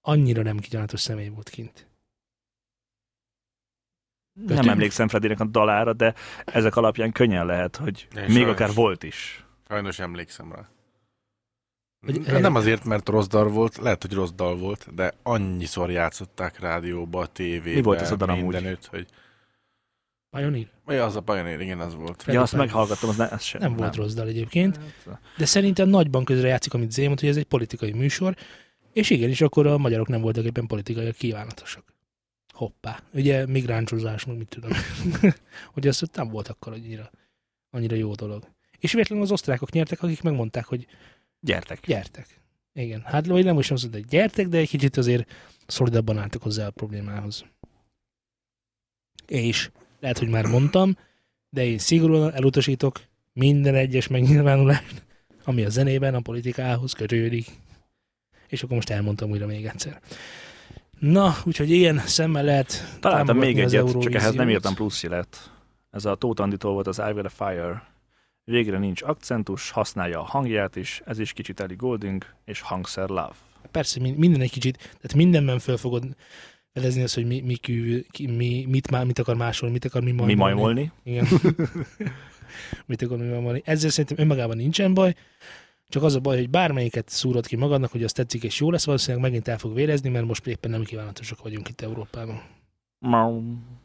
S2: annyira nem kigyanátos személy volt kint.
S3: Kötünk?
S2: Kötünk?
S3: Nem emlékszem Fredinek a dalára, de ezek alapján könnyen lehet, hogy
S4: Én
S3: még
S4: sajnos.
S3: akár volt is.
S4: Sajnos emlékszem rá.
S2: Hogy-
S4: N- Nem azért, mert rossz dal volt, lehet, hogy rossz dal volt, de annyiszor játszották rádióba, tévébe,
S3: Mi volt ez a dal amúgy?
S4: mindenütt, hogy
S2: Pioneer?
S4: mi az a Pioneer, igen, az volt.
S2: Freddy
S3: Ja, azt
S2: Pioneer.
S3: meghallgattam, az, ne, az sem.
S2: Nem, volt rossz dal egyébként,
S3: Hát,
S2: de szerintem nagyban közre játszik, amit Zé mondta, hogy ez egy politikai műsor, és igenis akkor a magyarok nem voltak éppen politikai kívánatosak. Hoppá. Ugye migránsozás, meg mit tudom. hogy azt ott nem volt akkor annyira, annyira jó dolog. És véletlenül az osztrákok nyertek, akik megmondták, hogy
S3: Gyertek.
S2: Gyertek. Igen, hát vagy nem is azt mondta, hogy gyertek, de egy kicsit azért szolidabban álltak hozzá a problémához. És lehet, hogy már mondtam, de én szigorúan elutasítok minden egyes megnyilvánulást, ami a zenében a politikához kötődik. És akkor most elmondtam újra még egyszer. Na, úgyhogy ilyen szemmel lehet
S3: Találtam
S2: támogatni
S3: még
S2: az
S3: egyet, csak ehhez nem
S2: Eurovíziót.
S3: írtam plusz jelet. Ez a Tóth Anditól volt az I Will a Fire. Végre nincs akcentus, használja a hangját is, ez is kicsit Ellie Golding, és hangszer Love.
S2: Persze, min- minden egy kicsit, tehát mindenben föl fogod fedezni azt, hogy mi, mi, kívül, ki, mi mit, má, mit akar máshol, mit akar mi
S3: Mi
S2: majmolni.
S3: majmolni?
S2: Igen. Mit akar mi van Ezzel szerintem önmagában nincsen baj, csak az a baj, hogy bármelyiket szúrod ki magadnak, hogy az tetszik és jó lesz, valószínűleg megint el fog vérezni, mert most éppen nem kívánatosak vagyunk itt Európában.
S3: Mau,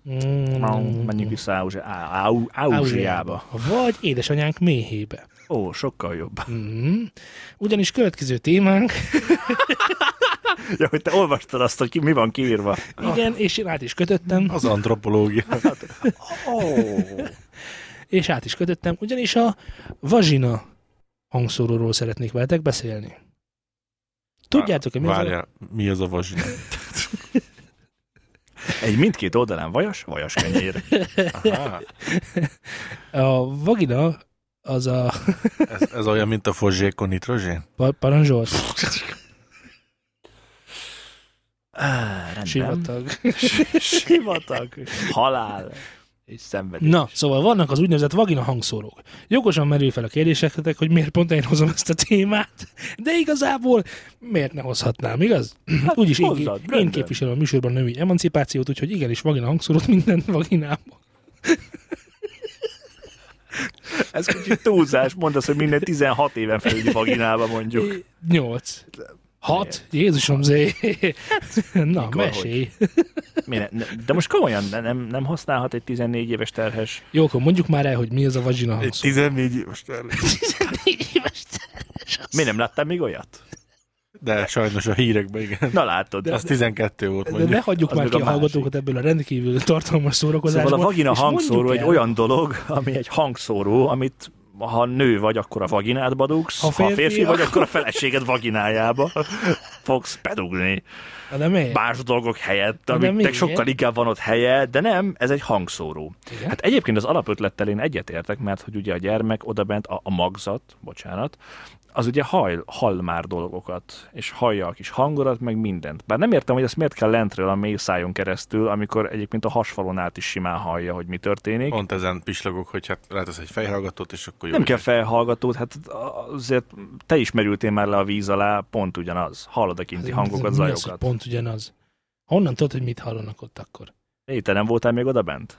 S2: Mm.
S3: mau, menjünk vissza Ázsia- Á- Á- Ázsiába.
S2: Vagy édesanyánk méhébe.
S3: Ó, sokkal jobb.
S2: Mm. Ugyanis következő témánk,
S3: Ja, hogy te olvastad azt, hogy ki, mi van kiírva.
S2: igen, és én át is kötöttem,
S4: Az antropológia.
S3: Hát, Oh.
S2: és át is kötöttem, ugyanis a vazsina hangszóróról szeretnék veletek beszélni. Tudjátok, hogy mi az a
S4: Várjál, mi az a vazsina?
S3: Egy mindkét oldalán vajas, vajas kenyér.
S4: Aha,
S2: A vagina az a
S4: ez, ez olyan, mint a fozsékon nitrogén?
S2: pa- parancsolt
S3: Ah, rendben.
S2: sivatag.
S3: Sivatag. Halál. És szenvedés.
S2: Na, szóval vannak az úgynevezett vagina hangszórók. Jogosan merül fel a kérdéseknek, hogy miért pont én hozom ezt a témát, de igazából miért ne hozhatnám, igaz? Hát, Úgyis én,
S3: hozzad,
S2: én
S3: rendben.
S2: képviselem a műsorban a női emancipációt, úgyhogy igenis vagina hangszórót minden vaginába.
S3: Ez kicsit túlzás, mondd azt, hogy minden 16 éven felüli vaginába mondjuk.
S2: Nyolc. Hat? Jézusom, zé. Na,
S3: mikor,
S2: mesélj.
S3: Mire, ne, de most komolyan ne- nem, nem használhat egy 14 éves terhes.
S2: Jó, akkor mondjuk már el, hogy mi az a vagina
S4: Egy
S2: hangszóró.
S4: 14 éves termék.
S3: Mi nem láttam még olyat?
S4: De sajnos a hírekben, igen.
S3: Na látod.
S4: Az 12 volt,
S2: De ne
S4: mondjuk.
S2: hagyjuk
S3: az
S2: már
S3: meg
S2: ki a
S3: a másik.
S2: hallgatókat ebből a rendkívül tartalmas szórakozásból.
S3: Szóval a vagina
S2: és mondjuk
S3: hangszóró egy
S2: el,
S3: olyan dolog, ami egy hangszóró, amit ha nő vagy, akkor a vaginádba dugsz, ha
S2: Ha
S3: férfi, ha férfi
S2: férfi,
S3: vagy, akkor a feleséged vaginájába fogsz bedugni.
S2: Na, Hát De miért?
S3: Más dolgok helyett,
S2: de
S3: amiknek
S2: miért?
S3: sokkal inkább van ott helye, de nem, ez egy hangszóró.
S2: Igen?
S3: Hát egyébként az alapötlettel én egyetértek, mert hogy ugye a gyermek odabent, a, a magzat, bocsánat, az ugye hall, hall már dolgokat, és hallja a kis hangodat, meg mindent. Bár nem értem, hogy ezt miért kell lentről a mély szájon keresztül, amikor egyébként a hasfalon át is simán hallja, hogy mi történik.
S4: Pont ezen pislogok, hogy hát rátesz egy fejhallgatót, és akkor jó.
S3: Nem kell felhallgatót, hát azért te is merültél már le a víz alá, pont ugyanaz. Hallod a kinti
S2: Hát,
S3: hangokat,
S2: mi az, hogy
S3: zajokat.
S2: Pont ugyanaz. Honnan tudod, hogy mit hallanak ott akkor?
S3: Éj, te nem voltál még odabent?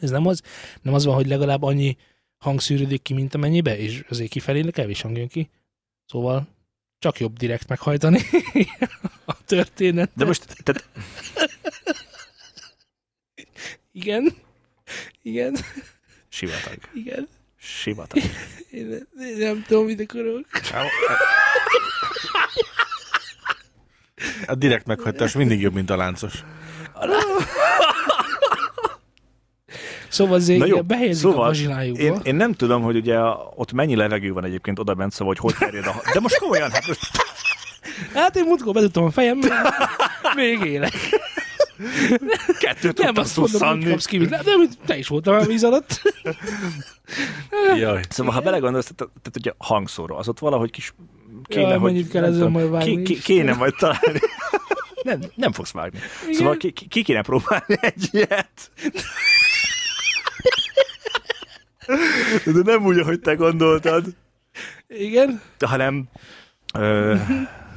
S2: Ez nem az, nem az van, hogy legalább annyi hang szűrődik ki, mint amennyibe, és azért kifelé kevés hang jön ki. Szóval csak jobb direkt meghajtani a történet.
S3: De most, tehát
S2: Igen. Igen,
S3: sivatag,
S2: igen.
S3: sivatag.
S2: Én, én nem tudom, mit akarok.
S4: Á, A direkt meghajtás mindig jobb, mint a láncos.
S2: Szóval azért
S3: Na jó,
S2: igen, behelyezik
S3: szóval
S2: a vazsinájukba.
S3: Én, én nem tudom, hogy ugye a- ott mennyi levegő van egyébként oda bent, szóval hogy hogy terjed a... De most komolyan, hát most
S2: Hát én múltkor bedugtam a fejem, még élek.
S3: Kettőt
S2: Nem,
S3: tudtam
S2: azt mondom, hogy
S3: szusszanni.
S2: kapsz ki, de, de te is voltál a víz alatt.
S4: Jaj.
S3: Szóval, ha belegondolsz, tehát, tehát ugye hangszóró, az ott valahogy kis kéne,
S2: Jaj,
S3: hogy
S2: mondjuk kell
S3: nem
S2: ezzel
S3: tudom,
S2: majd vágni
S3: ki, ki,
S2: is.
S3: kéne majd találni. Nem, nem fogsz vágni. Igen. Szóval ki, ki, ki kéne próbálni egy ilyet. De nem úgy, ahogy te gondoltad,
S2: Igen.
S3: hanem... Ö,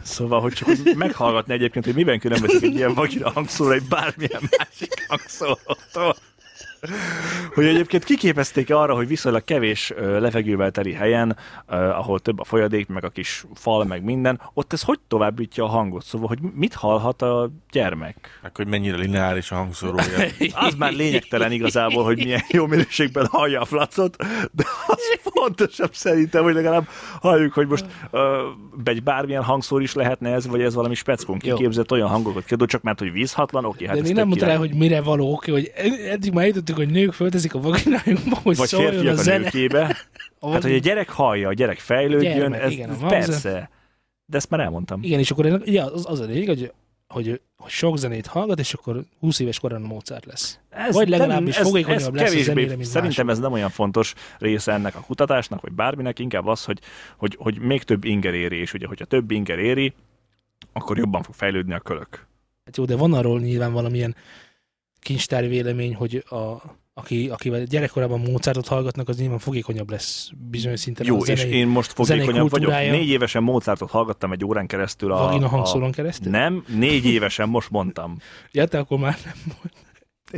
S3: szóval, hogy csak úgy meghallgatni egyébként, hogy miben különbözik egy ilyen vakira hangszóra egy bármilyen másik hangszórótól. Hogy egyébként kiképezték arra, hogy viszonylag kevés ö, levegővel teli helyen, ö, ahol több a folyadék, meg a kis fal, meg minden, ott ez hogy továbbítja a hangot? Szóval, hogy mit hallhat a gyermek?
S4: Meg hogy mennyire lineáris a hangszórója.
S3: Az már lényegtelen igazából, hogy milyen jó minőségben hallja a flacot, de az fontosabb szerintem, hogy legalább halljuk, hogy most ö, egy bármilyen hangszór is lehetne ez, vagy ez valami speckon
S2: Jó.
S3: kiképzett olyan hangokat kiadó, csak mert hogy vízhatlan, oké, hát
S2: De
S3: ez
S2: még
S3: tök
S2: nem mondta
S3: király.
S2: rá, hogy mire való, oké, hogy ed- eddig már jutottuk, hogy nők fölteszik a vaginájukba, hogy
S3: Vagy
S2: szóljon a
S3: férfiak a, a
S2: zene.
S3: nőkébe.
S2: A
S3: Hát, hogy a
S2: vagin-
S3: gyerek hallja, a gyerek fejlődjön,
S2: Gyermek,
S3: ez
S2: igen,
S3: igen,
S2: a hangzó.
S3: persze. De ezt már elmondtam.
S2: Igen, és akkor ennek- ugye, az, az a lényeg, hogy, hogy, hogy sok zenét hallgat, és akkor 20 éves korán a Mozart lesz.
S3: Ez
S2: Vagy legalábbis fogékonyabb lesz a
S3: kevésbé-
S2: zenére, mint
S3: Szerintem
S2: máshol.
S3: ez nem olyan fontos része ennek a kutatásnak, vagy bárminek, inkább az, hogy, hogy, hogy még több inger éri, és ugye, hogyha több inger éri, akkor jobban fog fejlődni a kölök.
S2: Hát jó, de van arról nyilván valamilyen kincstár vélemény, hogy a, aki, akivel gyerekkorában Mozartot hallgatnak, az nyilván fogékonyabb lesz bizonyos szinten
S3: Jó,
S2: a
S3: és
S2: zenei
S3: én most
S2: zenei
S3: fogékonyabb vagyok.
S2: kultúrája.
S3: Négy évesen Mozartot hallgattam egy órán keresztül a...
S2: vagina
S3: a
S2: hangszóron keresztül.
S3: nem, négy évesen, most mondtam.
S2: Ja, te akkor már nem volt.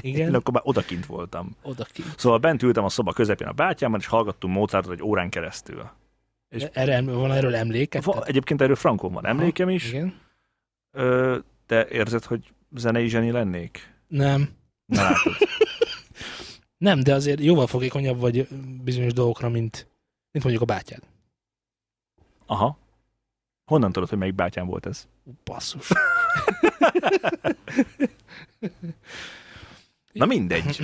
S3: Én
S2: Igen,
S3: akkor már odakint voltam.
S2: oda ki.
S3: Szóval bent ültem a szoba közepén a bátyámmal, és hallgattunk Mozartot egy órán keresztül. És-
S2: Erre, em- van erről emléket?
S3: Va, egyébként erről Frankon van emlékem is,
S2: Igen?
S3: Ö, de érzed, hogy zenei zseni lennék?
S2: Nem.
S3: Na, látod.
S2: Nem, de azért jóval fogékonyabb vagy bizonyos dolgokra, mint, mint mondjuk a bátyád.
S3: Aha. Honnan tudod, hogy melyik bátyám volt ez?
S2: Ú, Basszus.
S3: Na mindegy.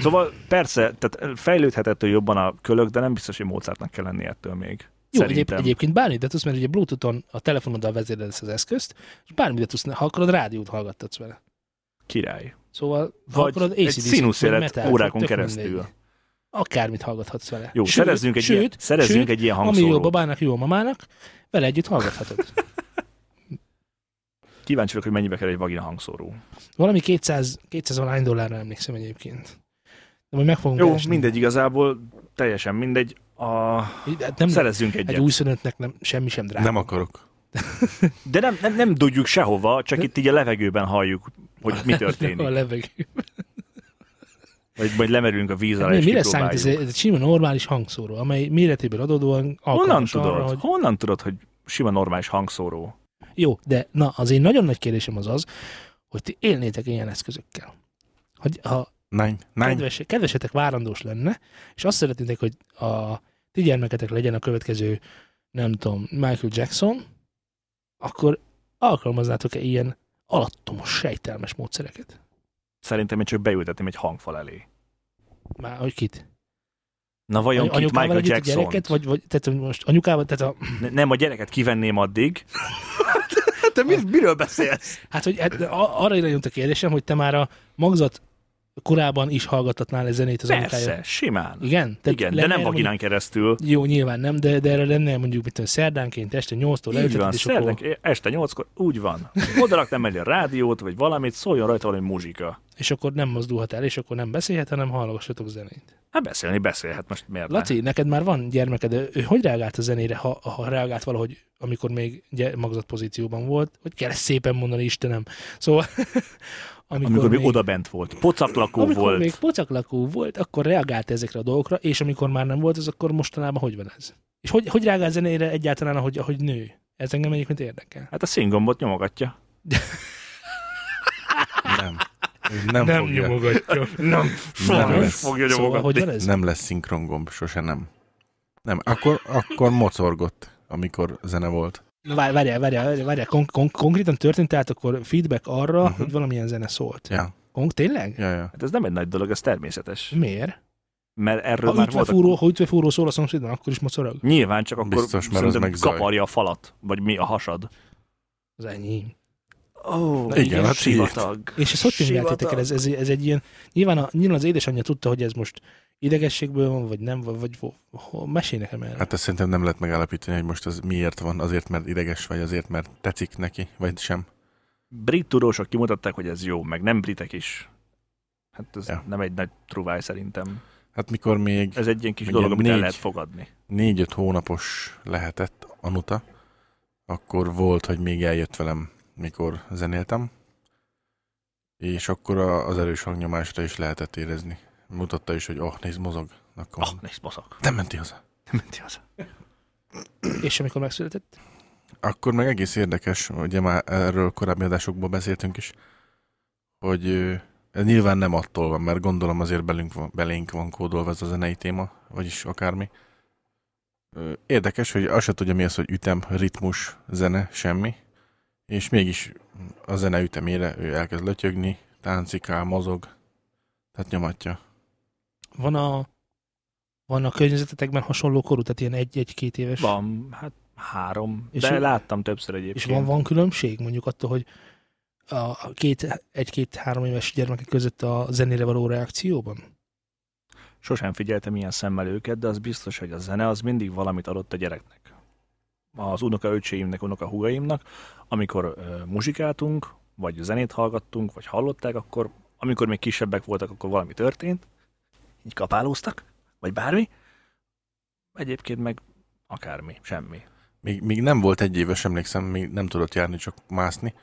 S3: Szóval persze, tehát fejlődhetett jobban a kölök, de nem biztos, hogy Mozartnak kell lenni ettől még.
S2: Jó, egyéb,
S3: Szerintem.
S2: egyébként bármit de tudsz, mert ugye Bluetooth-on a telefonoddal vezéreled ezt az eszközt, és bármit de tudsz, ha akarod, rádiót hallgattatsz vele.
S3: Király.
S2: Szóval ha
S3: Vagy
S2: akarod,
S3: egy
S2: AC/DC -t, vagy
S3: színuszélet
S2: metált,
S3: órákon
S2: tök
S3: keresztül.
S2: mindegy. Akármit hallgathatsz vele.
S3: Jó, sőt, szerezzünk egy sőt, ilyen, szerezzünk
S2: sőt,
S3: sőt, egy ilyen
S2: Ami jó
S3: hangszórót.
S2: babának, jó a mamának, vele együtt hallgathatod.
S3: Kíváncsi vagyok, hogy mennyibe kerül egy vagina hangszóró.
S2: Valami 200, 200 valány dollárra emlékszem egyébként. De majd meg fogunk
S3: Jó,
S2: keresni.
S3: mindegy igazából, teljesen mindegy. A...
S2: Hát nem,
S3: Szerezzünk
S2: egy
S3: egyet.
S2: újszülöttnek nem, semmi sem drága.
S4: Nem akarok.
S3: De nem, nem, nem tudjuk sehova, csak itt így a levegőben halljuk, hogy mi
S2: A
S3: történik.
S2: levegő.
S3: Vagy majd lemerülünk a víz alá,
S2: Hát Mi,
S3: és
S2: mire számít ez,
S3: kipróbáljuk.
S2: ez egy sima normális hangszóró, amely méretéből adódóan
S3: Honnan
S2: alkalmas
S3: tudod?
S2: arra, hogy...
S3: Honnan tudod, hogy sima normális hangszóró?
S2: Jó, de na, az én nagyon nagy kérdésem az az, hogy ti élnétek ilyen eszközökkel. Hogy ha
S4: Nein, nein.
S2: kedves, kedvesetek várandós lenne, és azt szeretnétek, hogy a ti gyermeketek legyen a következő, nem tudom, Michael Jackson, akkor alkalmaznátok-e ilyen alattomos, sejtelmes módszereket?
S3: Szerintem én csak beültetném egy hangfal elé.
S2: Már, hogy kit?
S3: Na vajon kit
S2: anyukával
S3: Michael
S2: együtt a
S3: Jackson?
S2: gyereket, vagy, vagy tehát hogy most anyukával, tehát a,
S3: Ne, nem, a gyereket kivenném addig. Te mi, miről beszélsz?
S2: hát hogy hát, a, arra irányult a kérdésem, hogy te már a magzat korában is hallgathatnál egy zenét az anyukája.
S3: Persze, simán. Igen,
S2: Igen? Tehát
S3: Igen de
S2: lenne
S3: nem
S2: erre
S3: vaginán keresztül.
S2: Mondjuk, jó, nyilván nem, de, de erre lenne mondjuk mit tudom, szerdánként este 8-tól
S3: Így van,
S2: leültetés, és akkor,
S3: szerdek, este nyolckor, úgy van. Oda raktam elé a rádiót, vagy valamit, szóljon rajta valami muzsika.
S2: és akkor nem mozdulhat el, és akkor nem beszélhet, hanem hallgassatok zenét.
S3: Hát beszélni beszélhet, most miért ne?
S2: Laci, neked már van gyermeked, ő ő hogy reagált a zenére, ha, ha reagált valahogy, amikor még gy- magzat pozícióban volt? Hogy kell ezt szépen mondani, Istenem? Szóval, amikor,
S3: Amikor még
S2: még
S3: oda bent volt, pocaplakó
S2: amikor
S3: volt.
S2: még pocaklakó volt, akkor reagált ezekre a dolgokra, és amikor már nem volt, az akkor mostanában hogy van ez? És hogy, hogy reagál zenére egyáltalán, ahogy, ahogy nő? Ez engem egyébként érdekel.
S3: Hát a színgombot nyomogatja.
S4: Nem. Ő Nem, nem fogja.
S2: nyomogatja.
S3: Nem,
S4: Nem
S3: nem
S4: lesz.
S3: fogja
S2: Szóval, hogy
S3: nyomogatni.
S2: van ez?
S4: Nem lesz szinkrongomb, sose nem. Nem, akkor, akkor mocorgott, amikor zene volt.
S2: Na, várj- Várjál, várjál, várjál, várjál. Kon- kon- konkrétan történt tehát akkor feedback arra, uh-huh. hogy valamilyen zene szólt.
S4: Mhm. Ja,
S2: Kon- tényleg?
S4: ja, ja.
S3: Hát ez nem egy nagy dolog, ez természetes.
S2: Miért?
S3: Mert erről
S2: Ha
S3: már voltak
S2: ütvefúró, ha ütvefúró szól a szomszédban, akkor is mocorog?
S3: Nyilván csak akkor
S4: Biztos, mert az
S3: szerintem
S4: meg zaj.
S3: kaparja a falat, vagy mi a hasad.
S2: Az ennyi.
S3: Ó,
S4: Igen, hát így.
S3: sivatag.
S2: És ezt hogy könyveltétek el? Ez, ez, ez egy ilyen, nyilván, a, nyilván az édesanyja tudta, hogy ez most idegességből van, vagy nem, vagy, vagy ho- ho- mesélj nekem erről. Hát,
S4: Hát ezt szerintem nem lehet megállapítani, hogy most ez miért van, azért, mert ideges, vagy azért, mert tetszik neki, vagy sem.
S3: Brit tudósok kimutatták, hogy ez jó, meg nem britek is. Hát ez
S4: Ja.
S3: ja. nem egy nagy truváj szerintem.
S4: Hát mikor még
S3: Ez egy ilyen kis
S4: Ugye
S3: dolog, amit el
S4: négy.
S3: lehet fogadni.
S4: négy-öt hónapos lehetett Anuta, akkor volt, hogy még eljött velem, mikor zenéltem, és akkor a- az erős hangnyomásra is lehetett érezni. Mutatta is, hogy oh, nézd, mozog. Akkor
S3: Ah,
S4: oh.
S3: nézd, mozog.
S4: nem menti haza.
S3: Nem menti haza.
S2: és amikor megszületett,
S4: Akkor meg egész érdekes, ugye már erről korábbi adásokban beszéltünk is, hogy ö, ez nyilván nem attól van, mert gondolom azért belünk van, belénk van kódolva ez a zenei téma, vagyis akármi. Ö, Érdekes, hogy azt se tudja mi az, hogy ütem, ritmus, zene, semmi, és mégis a zene ütemére ő elkezd lötyögni, táncikál, mozog, tehát nyomatja.
S2: van a, van a környezetetekben hasonló korú, tehát ilyen egy-egy-két éves.
S3: Van, hát három.
S2: És
S3: És de
S2: ő-
S3: láttam többször egyébként.
S2: És van, van különbség mondjuk attól, hogy a a két, egy-két-három éves gyermekek között a zenére való reakcióban?
S3: Sosem figyeltem ilyen szemmel őket, de az biztos, hogy a zene az mindig valamit adott a gyereknek. Az unoka öcséimnek, unoka húgaimnak, amikor ö, muzsikáltunk, vagy zenét hallgattunk, vagy hallották, akkor amikor még kisebbek voltak, akkor valami történt, így kapálóztak, vagy bármi, egyébként meg akármi, semmi.
S4: Még, még nem volt egy éves, emlékszem, még nem tudott járni, csak mászni.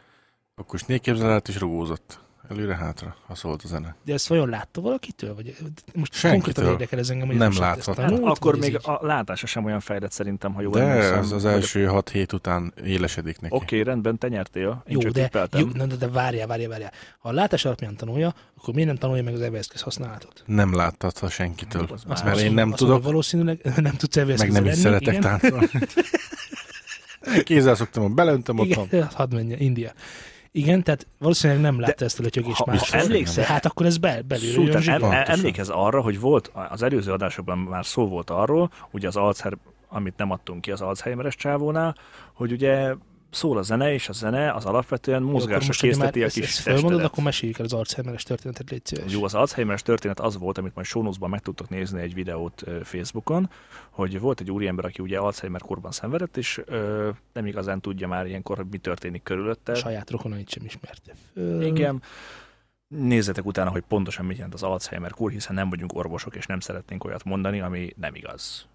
S4: Akkor is nélképzelelt és rugózott. Előre-hátra, ha szólt a zene.
S2: De ezt vajon látta valakitől? Vagy most
S4: Senkitől.
S2: konkrétan érdekel ez engem, hogy
S4: Nem
S2: most ezt- ezt
S4: láthatta.
S3: Hát
S2: tanult,
S3: akkor
S2: vagy ez
S3: még
S2: így?
S3: a látása sem olyan fejlett szerintem, ha jól
S4: De
S3: emlékszem.
S4: az, az
S3: Vagy-
S4: első 6 hét után élesedik neki.
S3: Oké, rendben, te nyertél, én
S2: Jó,
S3: csak
S2: de,
S3: tippeltem.
S2: jó de, de, de várjál, várjál, várjál. Ha a látás alapján tanulja, akkor miért nem tanulja meg az evőeszköz használatot?
S4: Nem láttatha senkitől.
S3: Az
S4: Azt
S3: más.
S4: mert én nem
S2: azt
S4: tudok,
S2: Mondja, valószínűleg nem tudsz
S4: meg
S2: evőeszközzel
S4: nem is
S2: lenni,
S4: szeretek
S2: igen.
S4: táncolni. Kézzel szoktam, hogy belöntöm, ott
S2: Igen,
S4: van.
S2: hát hadd menjen, India. Igen, tehát valószínűleg nem látta ezt a lötyögés
S3: ha-
S2: már.
S4: biztos, hogy
S3: emlékszel-
S2: hát akkor ez bel, belül jön
S3: Szultán, em,
S2: zsiga.
S4: Pontosan.
S3: em- emlékez arra, hogy volt az előző adásokban már szó volt arról, ugye az Alzheimer, amit nem adtunk ki az Alzheimeres csávónál, hogy ugye szól a zene, és a zene az alapvetően
S2: Jó, akkor
S3: mozgásra
S2: most, hogyha már
S3: készteti a
S2: ezt-
S3: kis
S2: ezt felmondod,
S3: testedet.
S2: akkor meséljük el az archelmeres történetet, légy szíves.
S3: Jó, az Alzheimeres történet az volt, amit majd sónuszban meg tudtok nézni egy videót ö, Facebookon, hogy volt egy úriember, aki ugye Alzheimer korban szenvedett, és ö, nem igazán tudja már ilyenkor, hogy mi történik körülötte.
S2: Saját rokonait sem ismerte. föl.
S3: Igen. Nézzetek utána, hogy pontosan mit jelent az Alzheimer kór, hiszen nem vagyunk orvosok, és nem szeretnénk olyat mondani, ami nem igaz.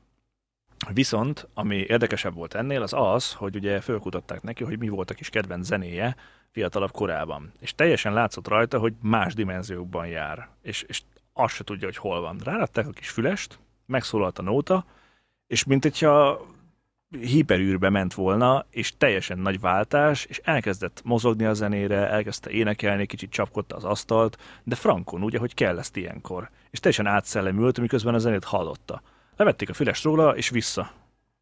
S3: Viszont, ami érdekesebb volt ennél, az az, hogy ugye fölkutatták neki, hogy mi volt a kis kedvenc zenéje fiatalabb korában. És teljesen látszott rajta, hogy más dimenziókban jár. És, és azt se tudja, hogy hol van. Ráadták a kis fülest, megszólalt a nóta, és mint hogyha hiperűrbe ment volna, és teljesen nagy váltás, és elkezdett mozogni a zenére, elkezdte énekelni, kicsit csapkodta az asztalt, de frankon, úgy, ahogy kell ezt ilyenkor. És teljesen átszellemült, miközben a zenét hallotta. Levették a füles róla, és vissza.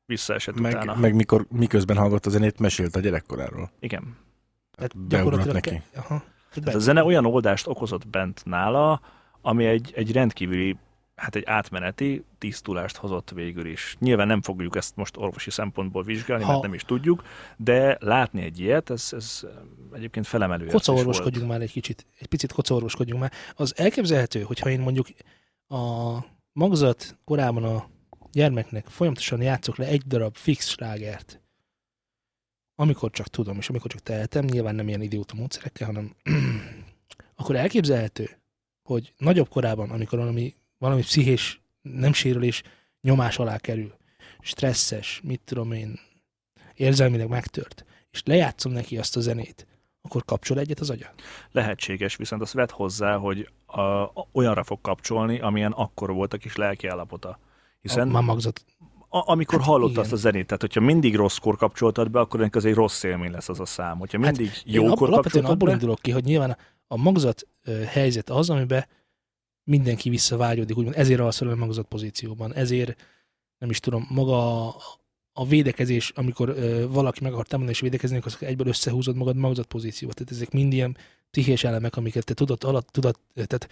S3: Visszaesett meg, utána.
S4: Meg,
S3: Meg...
S4: meg mikor, miközben hallgatta a zenét, mesélt a gyerekkoráról.
S3: Igen.
S2: Tehát
S4: Beugrott
S2: gyakorlatilag
S4: neki.
S2: Ke- Aha.
S3: Tehát a zene olyan oldást okozott bent nála, ami egy, egy rendkívüli, hát egy átmeneti tisztulást hozott végül is. Nyilván nem fogjuk ezt most orvosi szempontból vizsgálni,
S2: Ha-
S3: mert nem is tudjuk, de látni egy ilyet, ez, ez eh, egyébként felemelő. érzés volt.
S2: Kocaorvoskodjunk már egy kicsit. Egy picit kocaorvoskodjunk már. Az elképzelhető, hogyha én mondjuk a magzat korában a gyermeknek folyamatosan játszok le egy darab fix slágert, amikor csak tudom, és amikor csak tehetem, nyilván nem ilyen idióta módszerekkel, hanem akkor elképzelhető, hogy nagyobb korában, amikor valami, valami pszichés nem sérülés nyomás alá kerül, stresszes, mit tudom én, érzelmileg megtört, és lejátszom neki azt a zenét, akkor kapcsol egyet az agya.
S3: Lehetséges, viszont azt vett hozzá, hogy a, a, olyanra fog kapcsolni, amilyen akkor volt a kis lelki állapota. Hiszen
S2: Már magzat.
S3: a, amikor
S2: hát
S3: hallott
S2: igen.
S3: azt a zenét, tehát hogyha mindig rosszkor kapcsoltad be, akkor ennek az egy rossz élmény lesz az a szám. Hogyha mindig hát,
S2: Én ab-
S3: jókor
S2: alapvetően
S3: kapcsoltad
S2: abból
S3: be,
S2: indulok ki, hogy nyilván a- a magzat ö, helyzet az, amiben mindenki visszavágyódik, úgymond ezért alszol el a magzat pozícióban, ezért nem is tudom, maga a, a védekezés, amikor ö, valaki meg akar támadni és védekezni, akkor egyből összehúzod magad magzat pozícióba. Tehát ezek mind ilyen pszichés elemek, amiket te tudat alatt, tudat, ö, tehát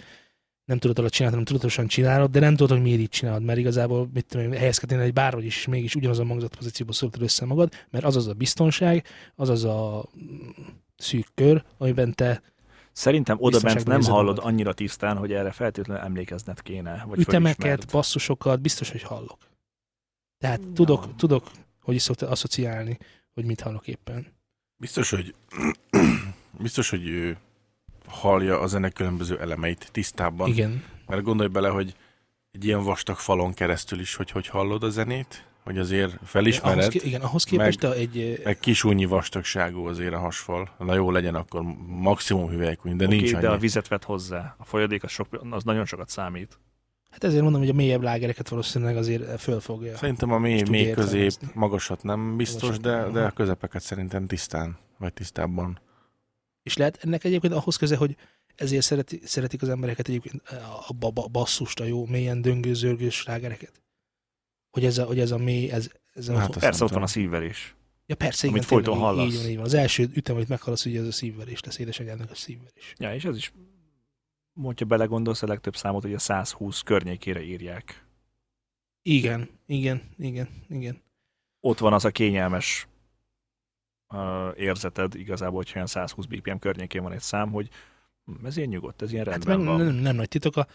S2: nem tudod alatt csinálod, hanem tudatosan csinálod, de nem tudod, hogy miért így csinálod, mert igazából mit tudom én, helyezkednél egy bárhogy is, és mégis ugyanaz a magzat pozícióba szóltad össze magad, mert az az a biztonság, az az a szűk kör, amiben te
S3: Szerintem oda bent
S2: Biztonságban
S3: nem
S2: érzed
S3: hallod
S2: magad.
S3: annyira tisztán, hogy erre feltétlenül emlékezned kéne. Vagy
S2: ütemeket,
S3: fölismered.
S2: basszusokat biztos, hogy hallok. Tehát
S3: Ja.
S2: tudok, tudok, hogy is szokta asszociálni, hogy mit hallok éppen.
S4: Biztos, hogy biztos, hogy ő hallja a zene különböző elemeit tisztában.
S2: Igen.
S4: Mert gondolj bele, hogy egy ilyen vastag falon keresztül is, hogy hogy hallod a zenét, hogy azért
S2: Ahhoz,
S4: felismered,
S2: ki- igen, ahhoz képest meg, egy...
S4: meg kisúnyi vastagságú azért a hasfal. Na jó, legyen akkor maximum hüvelykúny, de okay,
S3: Oké,
S4: nincs
S3: de a
S4: annyi.
S3: vizet vett hozzá. A folyadék az, sok, az nagyon sokat számít.
S2: Hát ezért mondom, hogy a mélyebb lágereket valószínűleg azért eh, fölfogja.
S4: Szerintem a mély,
S2: Most
S4: mély
S2: tudja
S4: közép,
S2: értelmezni.
S4: magasat nem biztos,
S2: Magasat
S4: de,
S2: nem.
S4: de a közepeket szerintem tisztán, vagy tisztábban.
S2: És lehet ennek egyébként ahhoz köze, hogy ezért szereti, szeretik az embereket egyébként eh, a, a, a basszust, a jó, mélyen döngő, zörgős lágereket. Hogy ez a, hogy ez a mély, ez, ez a,
S4: Hát
S2: hát
S4: azt-
S3: Persze ott
S4: tudom.
S3: van a szívverés.
S2: ja, persze,
S3: amit
S2: igen, tényleg,
S3: folyton
S2: így- Így,
S3: hallasz.
S2: van, így van. Az első ütem, amit meghallasz, ugye ez a szívverés lesz, édesanyádnak a szívverés.
S3: Ja, és ez is, hogyha belegondolsz, a legtöbb számot ugye 120 környékére írják.
S2: Igen, igen, igen, igen. Hát
S3: Ott van az a kényelmes uh, érzeted igazából, hogyha olyan 120 BPM környékén van egy szám, hogy hm, ez ilyen nyugodt, ez ilyen
S2: Hát
S3: rendben
S2: meg
S3: van.
S2: nem, nem nagy titok, a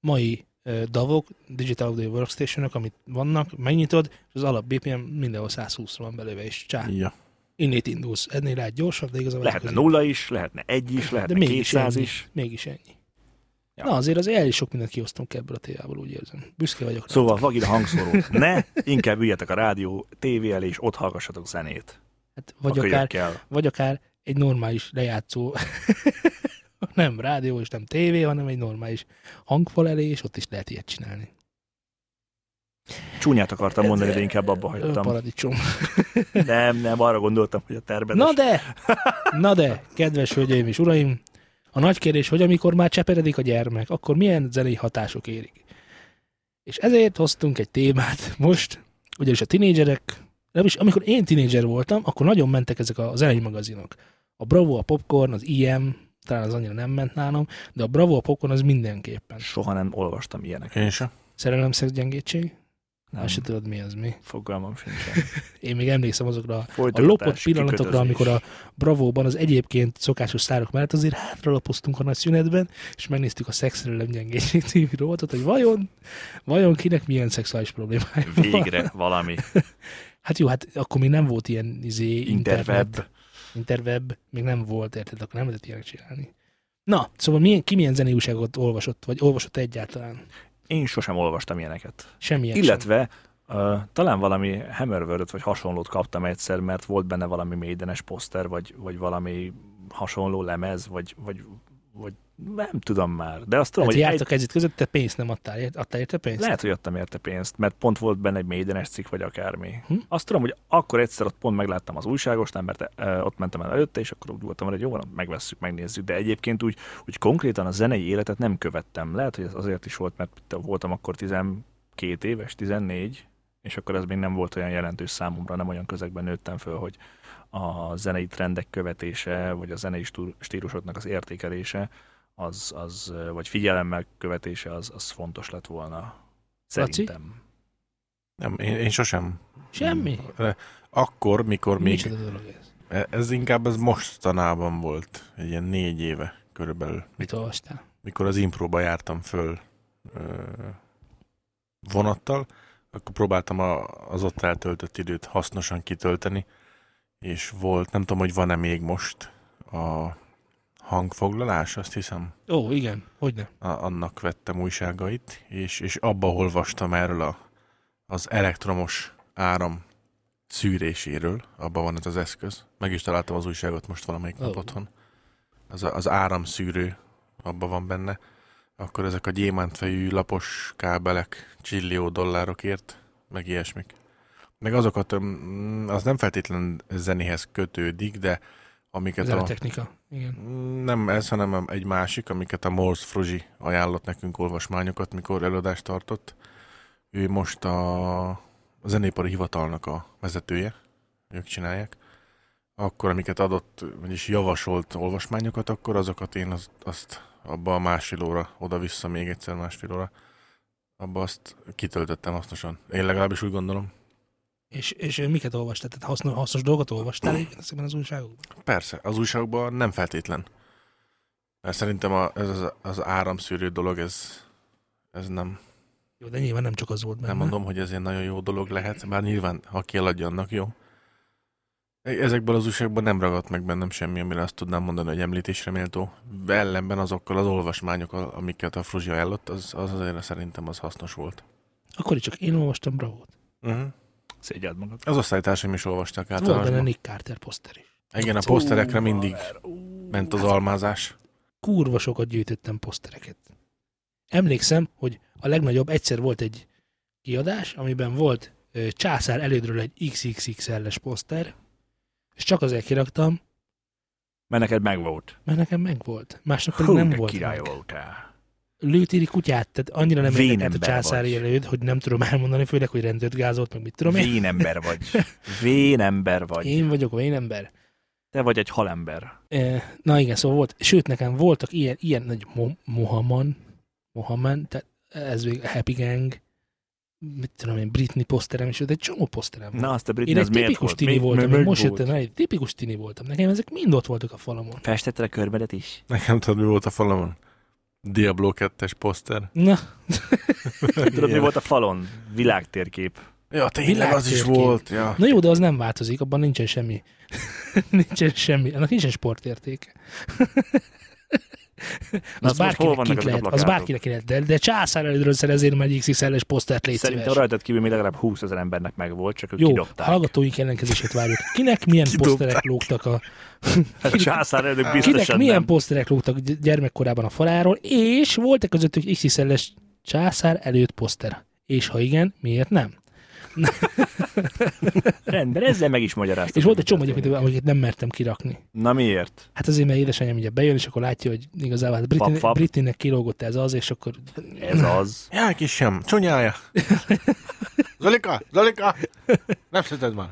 S2: mai uh, davok, Digital Audio workstation amit vannak, megnyitod, és az alap BPM mindenhol 120 van belőle, és csá,
S4: Ja.
S2: innét indulsz. Ennél lehet gyorsabb, de igazából
S3: Lehetne
S2: közé-
S3: nulla is, lehetne egy is, lehetne
S2: mégis
S3: 200
S2: ennyi.
S3: is.
S2: Mégis ennyi.
S3: Ja.
S2: Ja. Na azért az el is sok mindent kiosztunk ebből a tévából, úgy érzem. Büszke vagyok. rá.
S3: Szóval vagid a hangszórót. Ne, inkább üljetek a rádió, tévé elé, és ott hallgassatok zenét.
S2: hát,
S3: Vagy
S2: vagy,
S3: a
S2: akár,
S3: kölyökkel.
S2: vagy akár egy normális lejátszó, nem rádió és nem tévé, hanem egy normális hangfal elé, és ott is lehet ilyet csinálni.
S3: Csúnyát akartam
S2: Ez-
S3: mondani, de inkább abba hagytam.
S2: Paradicsom.
S3: Nem, nem, arra gondoltam, hogy a terbedes.
S2: Na de, na de, kedves hölgyeim és uraim, a nagy kérdés, hogy amikor már cseperedik a gyermek, akkor milyen zenei hatások érik. És ezért hoztunk egy témát most, ugyanis a tinédzserek, legalábbis amikor én tinédzser voltam, akkor nagyon mentek ezek a zenei magazinok. A Bravo, a Popcorn, az IM, talán az annyira nem ment nálam, de a Bravo, a Popcorn az mindenképpen.
S3: Soha nem olvastam ilyeneket.
S4: Én sem.
S2: Szerelem, szex, gyengétség?
S3: Nem,
S2: Azt se tudod, mi az mi.
S3: fogalmam sincsen.
S2: Én még emlékszem azokra a a
S3: Folytatás,
S2: lopott pillanatokra,
S3: kikötözés.
S2: amikor a Bravóban az egyébként szokásos szárok mellett azért hátralapoztunk a nagy szünetben, és megnéztük a szexrelem gyengénység című rovatot, hogy vajon, vajon kinek milyen szexuális problémája van.
S3: Végre valami
S2: Hát jó, hát akkor még nem volt ilyen izé,
S3: interweb.
S2: internet, interweb, még nem volt, érted, akkor nem lehetett ilyenek csinálni. Na, szóval milyen, ki milyen zenei újságot olvasott, vagy olvasott egyáltalán?
S3: Én sosem olvastam ilyeneket.
S2: Semmilyen sem.
S3: Illetve Uh, talán valami Hammerworld vagy hasonlót kaptam egyszer, mert volt benne valami médenes poszter, vagy, vagy valami hasonló lemez, vagy, vagy, vagy nem tudom már. De azt tudom,
S2: Tehát
S3: hogy egy,
S2: jártak egy... között, te pénzt nem adtál, ért- adtál érte pénzt?
S3: Lehet, hogy adtam érte pénzt, mert pont volt benne egy médenes cikk, vagy akármi. Hm?
S2: Hm.
S3: Azt tudom, hogy akkor egyszer ott pont megláttam az újságosnál, mert ö, ott mentem el előtte, és akkor úgy voltam, hogy jó, van, megvesszük, megnézzük. De egyébként úgy, úgy konkrétan a zenei életet nem követtem. Lehet, hogy ez azért is volt, mert te- voltam akkor 12 éves, 14, és akkor ez még nem volt olyan jelentős számomra, nem olyan közegben nőttem föl, hogy a zenei trendek követése, vagy a zenei stú- stílusoknak az értékelése, az, az, ö, vagy figyelemmel követése, az, az fontos lett volna.
S2: Laci?
S3: Szerintem.
S4: Nem, én, én sosem.
S2: Semmi?
S4: Akkor, mikor még e-
S2: Micsoda dolog ez?
S4: Ez inkább ez mostanában volt, egy ilyen négy éve körülbelül,
S2: Mit olvastál?
S4: mikor az impróba jártam föl ö, vonattal, akkor próbáltam a, az ott eltöltött időt hasznosan kitölteni, és volt, nem tudom, hogy van-e még most a hangfoglalás, azt hiszem,
S2: Ó, igen, hogy nem.
S4: a, annak vettem újságait, és, és abba olvastam erről a, az elektromos áram szűréséről, abban van ez az eszköz. Meg is találtam az újságot most valamelyik
S2: Ó.
S4: nap otthon. Az, a- az áramszűrő, abban van benne. Akkor ezek a gyémántfejű lapos kábelek csillió dollárokért, meg ilyesmik. Meg azokat, mm, az nem feltétlen zenéhez kötődik, de amiket
S2: Ez
S4: a...
S2: a technika. Igen.
S4: Nem ez, hanem egy másik, amiket a Morse Fruzsi ajánlott nekünk olvasmányokat, mikor előadást tartott. Ő most a, a zenépari hivatalnak a vezetője, ők csinálják. Akkor, amiket adott, vagyis javasolt olvasmányokat, akkor azokat én azt, azt abba a másfél óra, oda-vissza még egyszer másfél óra, abba azt kitöltöttem hasznosan. Én legalábbis úgy gondolom.
S2: És, és miket olvastál? Tehát hasznos, hasznos dolgot olvastál egyébként ezekben az újságokban?
S4: Persze, az újságokban nem feltétlen. Mert szerintem a, ez az, az áramszűrő dolog, ez, ez nem,
S2: Jó, de nyilván nem csak az volt benne.
S4: nem mondom, hogy ez egy nagyon jó dolog lehet, bár nyilván, ha kiadja, annak jó. Ezekből az újságokban nem ragadt meg bennem semmi, amire azt tudnám mondani, hogy említésre méltó. Ellenben azokkal az olvasmányokkal, amiket a Fruzsia ellott, az, az azért szerintem az hasznos volt.
S2: Akkor is csak én olvastam Bravót. Mhm.
S4: Uh-huh.
S3: Szégyeld magad.
S4: Az osztálytársaim is olvasták
S2: Volt benne
S4: általánosban.
S2: Nick Carter poszter is.
S4: Igen, a poszterekre
S3: Ú,
S4: mindig
S3: haver, ú,
S4: ment az
S3: hát
S4: almázás.
S2: kurva sokat gyűjtöttem posztereket. Emlékszem, hogy a legnagyobb egyszer volt egy kiadás, amiben volt ö, császár elődről egy XXXL-es poszter, és csak azért kiraktam,
S3: Mert neked meg volt.
S2: mert nekem meg volt. Másnak pedig
S3: Hú,
S2: nem
S3: de
S2: volt
S3: király
S2: meg.
S3: voltál.
S2: Lőtéri kutyát, tehát annyira nem
S3: Vén
S2: érdekelt a
S3: ember
S2: császári
S3: vagy.
S2: előd, hogy nem tudom elmondani, főleg, hogy rendőrt gázolt, meg mit tudom én.
S3: Vén ember vagy. Vén ember vagy.
S2: Én vagyok a én ember.
S3: Te vagy egy halember.
S2: Ö, Na igen, szóval volt, sőt nekem voltak ilyen, ilyen nagy mo- Mohaman, Mohaman, tehát ez még Happy Gang, mit tudom én, Britney poszterem, és egy csomó poszterem volt.
S3: Na, azt a
S2: én
S3: Britney,
S2: egy
S3: az miért
S2: tipikus
S3: volt?
S2: tini
S3: Mi-
S2: voltam,
S3: mi-
S2: én
S3: mi
S2: most
S3: volt?
S2: jöttem rá, egy tipikus tini voltam. Nekem ezek mind ott voltak a falamon.
S3: Festetted a körmedet is?
S4: Nekem tudod, mi volt a falamon? Diablo 2-es poszter.
S2: Na,
S3: Tudod, mi volt a falon? Világtérkép.
S4: Ja, tényleg az is
S2: Világtérkép.
S4: volt. Ja.
S2: na jó, de az nem változik, abban nincsen semmi. nincsen semmi, annak nincsen sportértéke.
S3: Na,
S2: az,
S3: azt most hol vannak
S2: bárkinek kint
S3: ezek a
S2: lehet, az
S3: plakátok?
S2: bárkinek kint lehet, de, de császár elődről szerezél meg XXL-es posztert légy
S3: Szerintem
S2: szíves.
S3: rajtad kívül még legalább 20 ezer embernek meg volt, csak ők
S2: Jó,
S3: kidobták.
S2: hallgatóink ellenkezését várjuk. Kinek milyen
S4: Kidobták.
S2: poszterek lógtak a,
S3: Hát a császár előtt
S2: kinek
S3: biztosan
S2: milyen
S3: nem.
S2: poszterek lógtak gy- gyermekkorában a faláról, és volt-e közöttük XXL-es császár előtt poszter? És ha igen, miért nem?
S3: Rendben, ezzel meg is magyaráztam.
S2: És volt egy csomó egyébként, amiket nem mertem kirakni.
S3: Na miért?
S2: Hát azért, mert édesanyám ugye bejön, és akkor látja, hogy igazából hát Britin,
S3: Fap, fap.
S2: Britinek kilógott ez az, és akkor
S3: Ez az.
S4: Ja, kisem, csonyája. Zolika, Zolika, nem szereted már.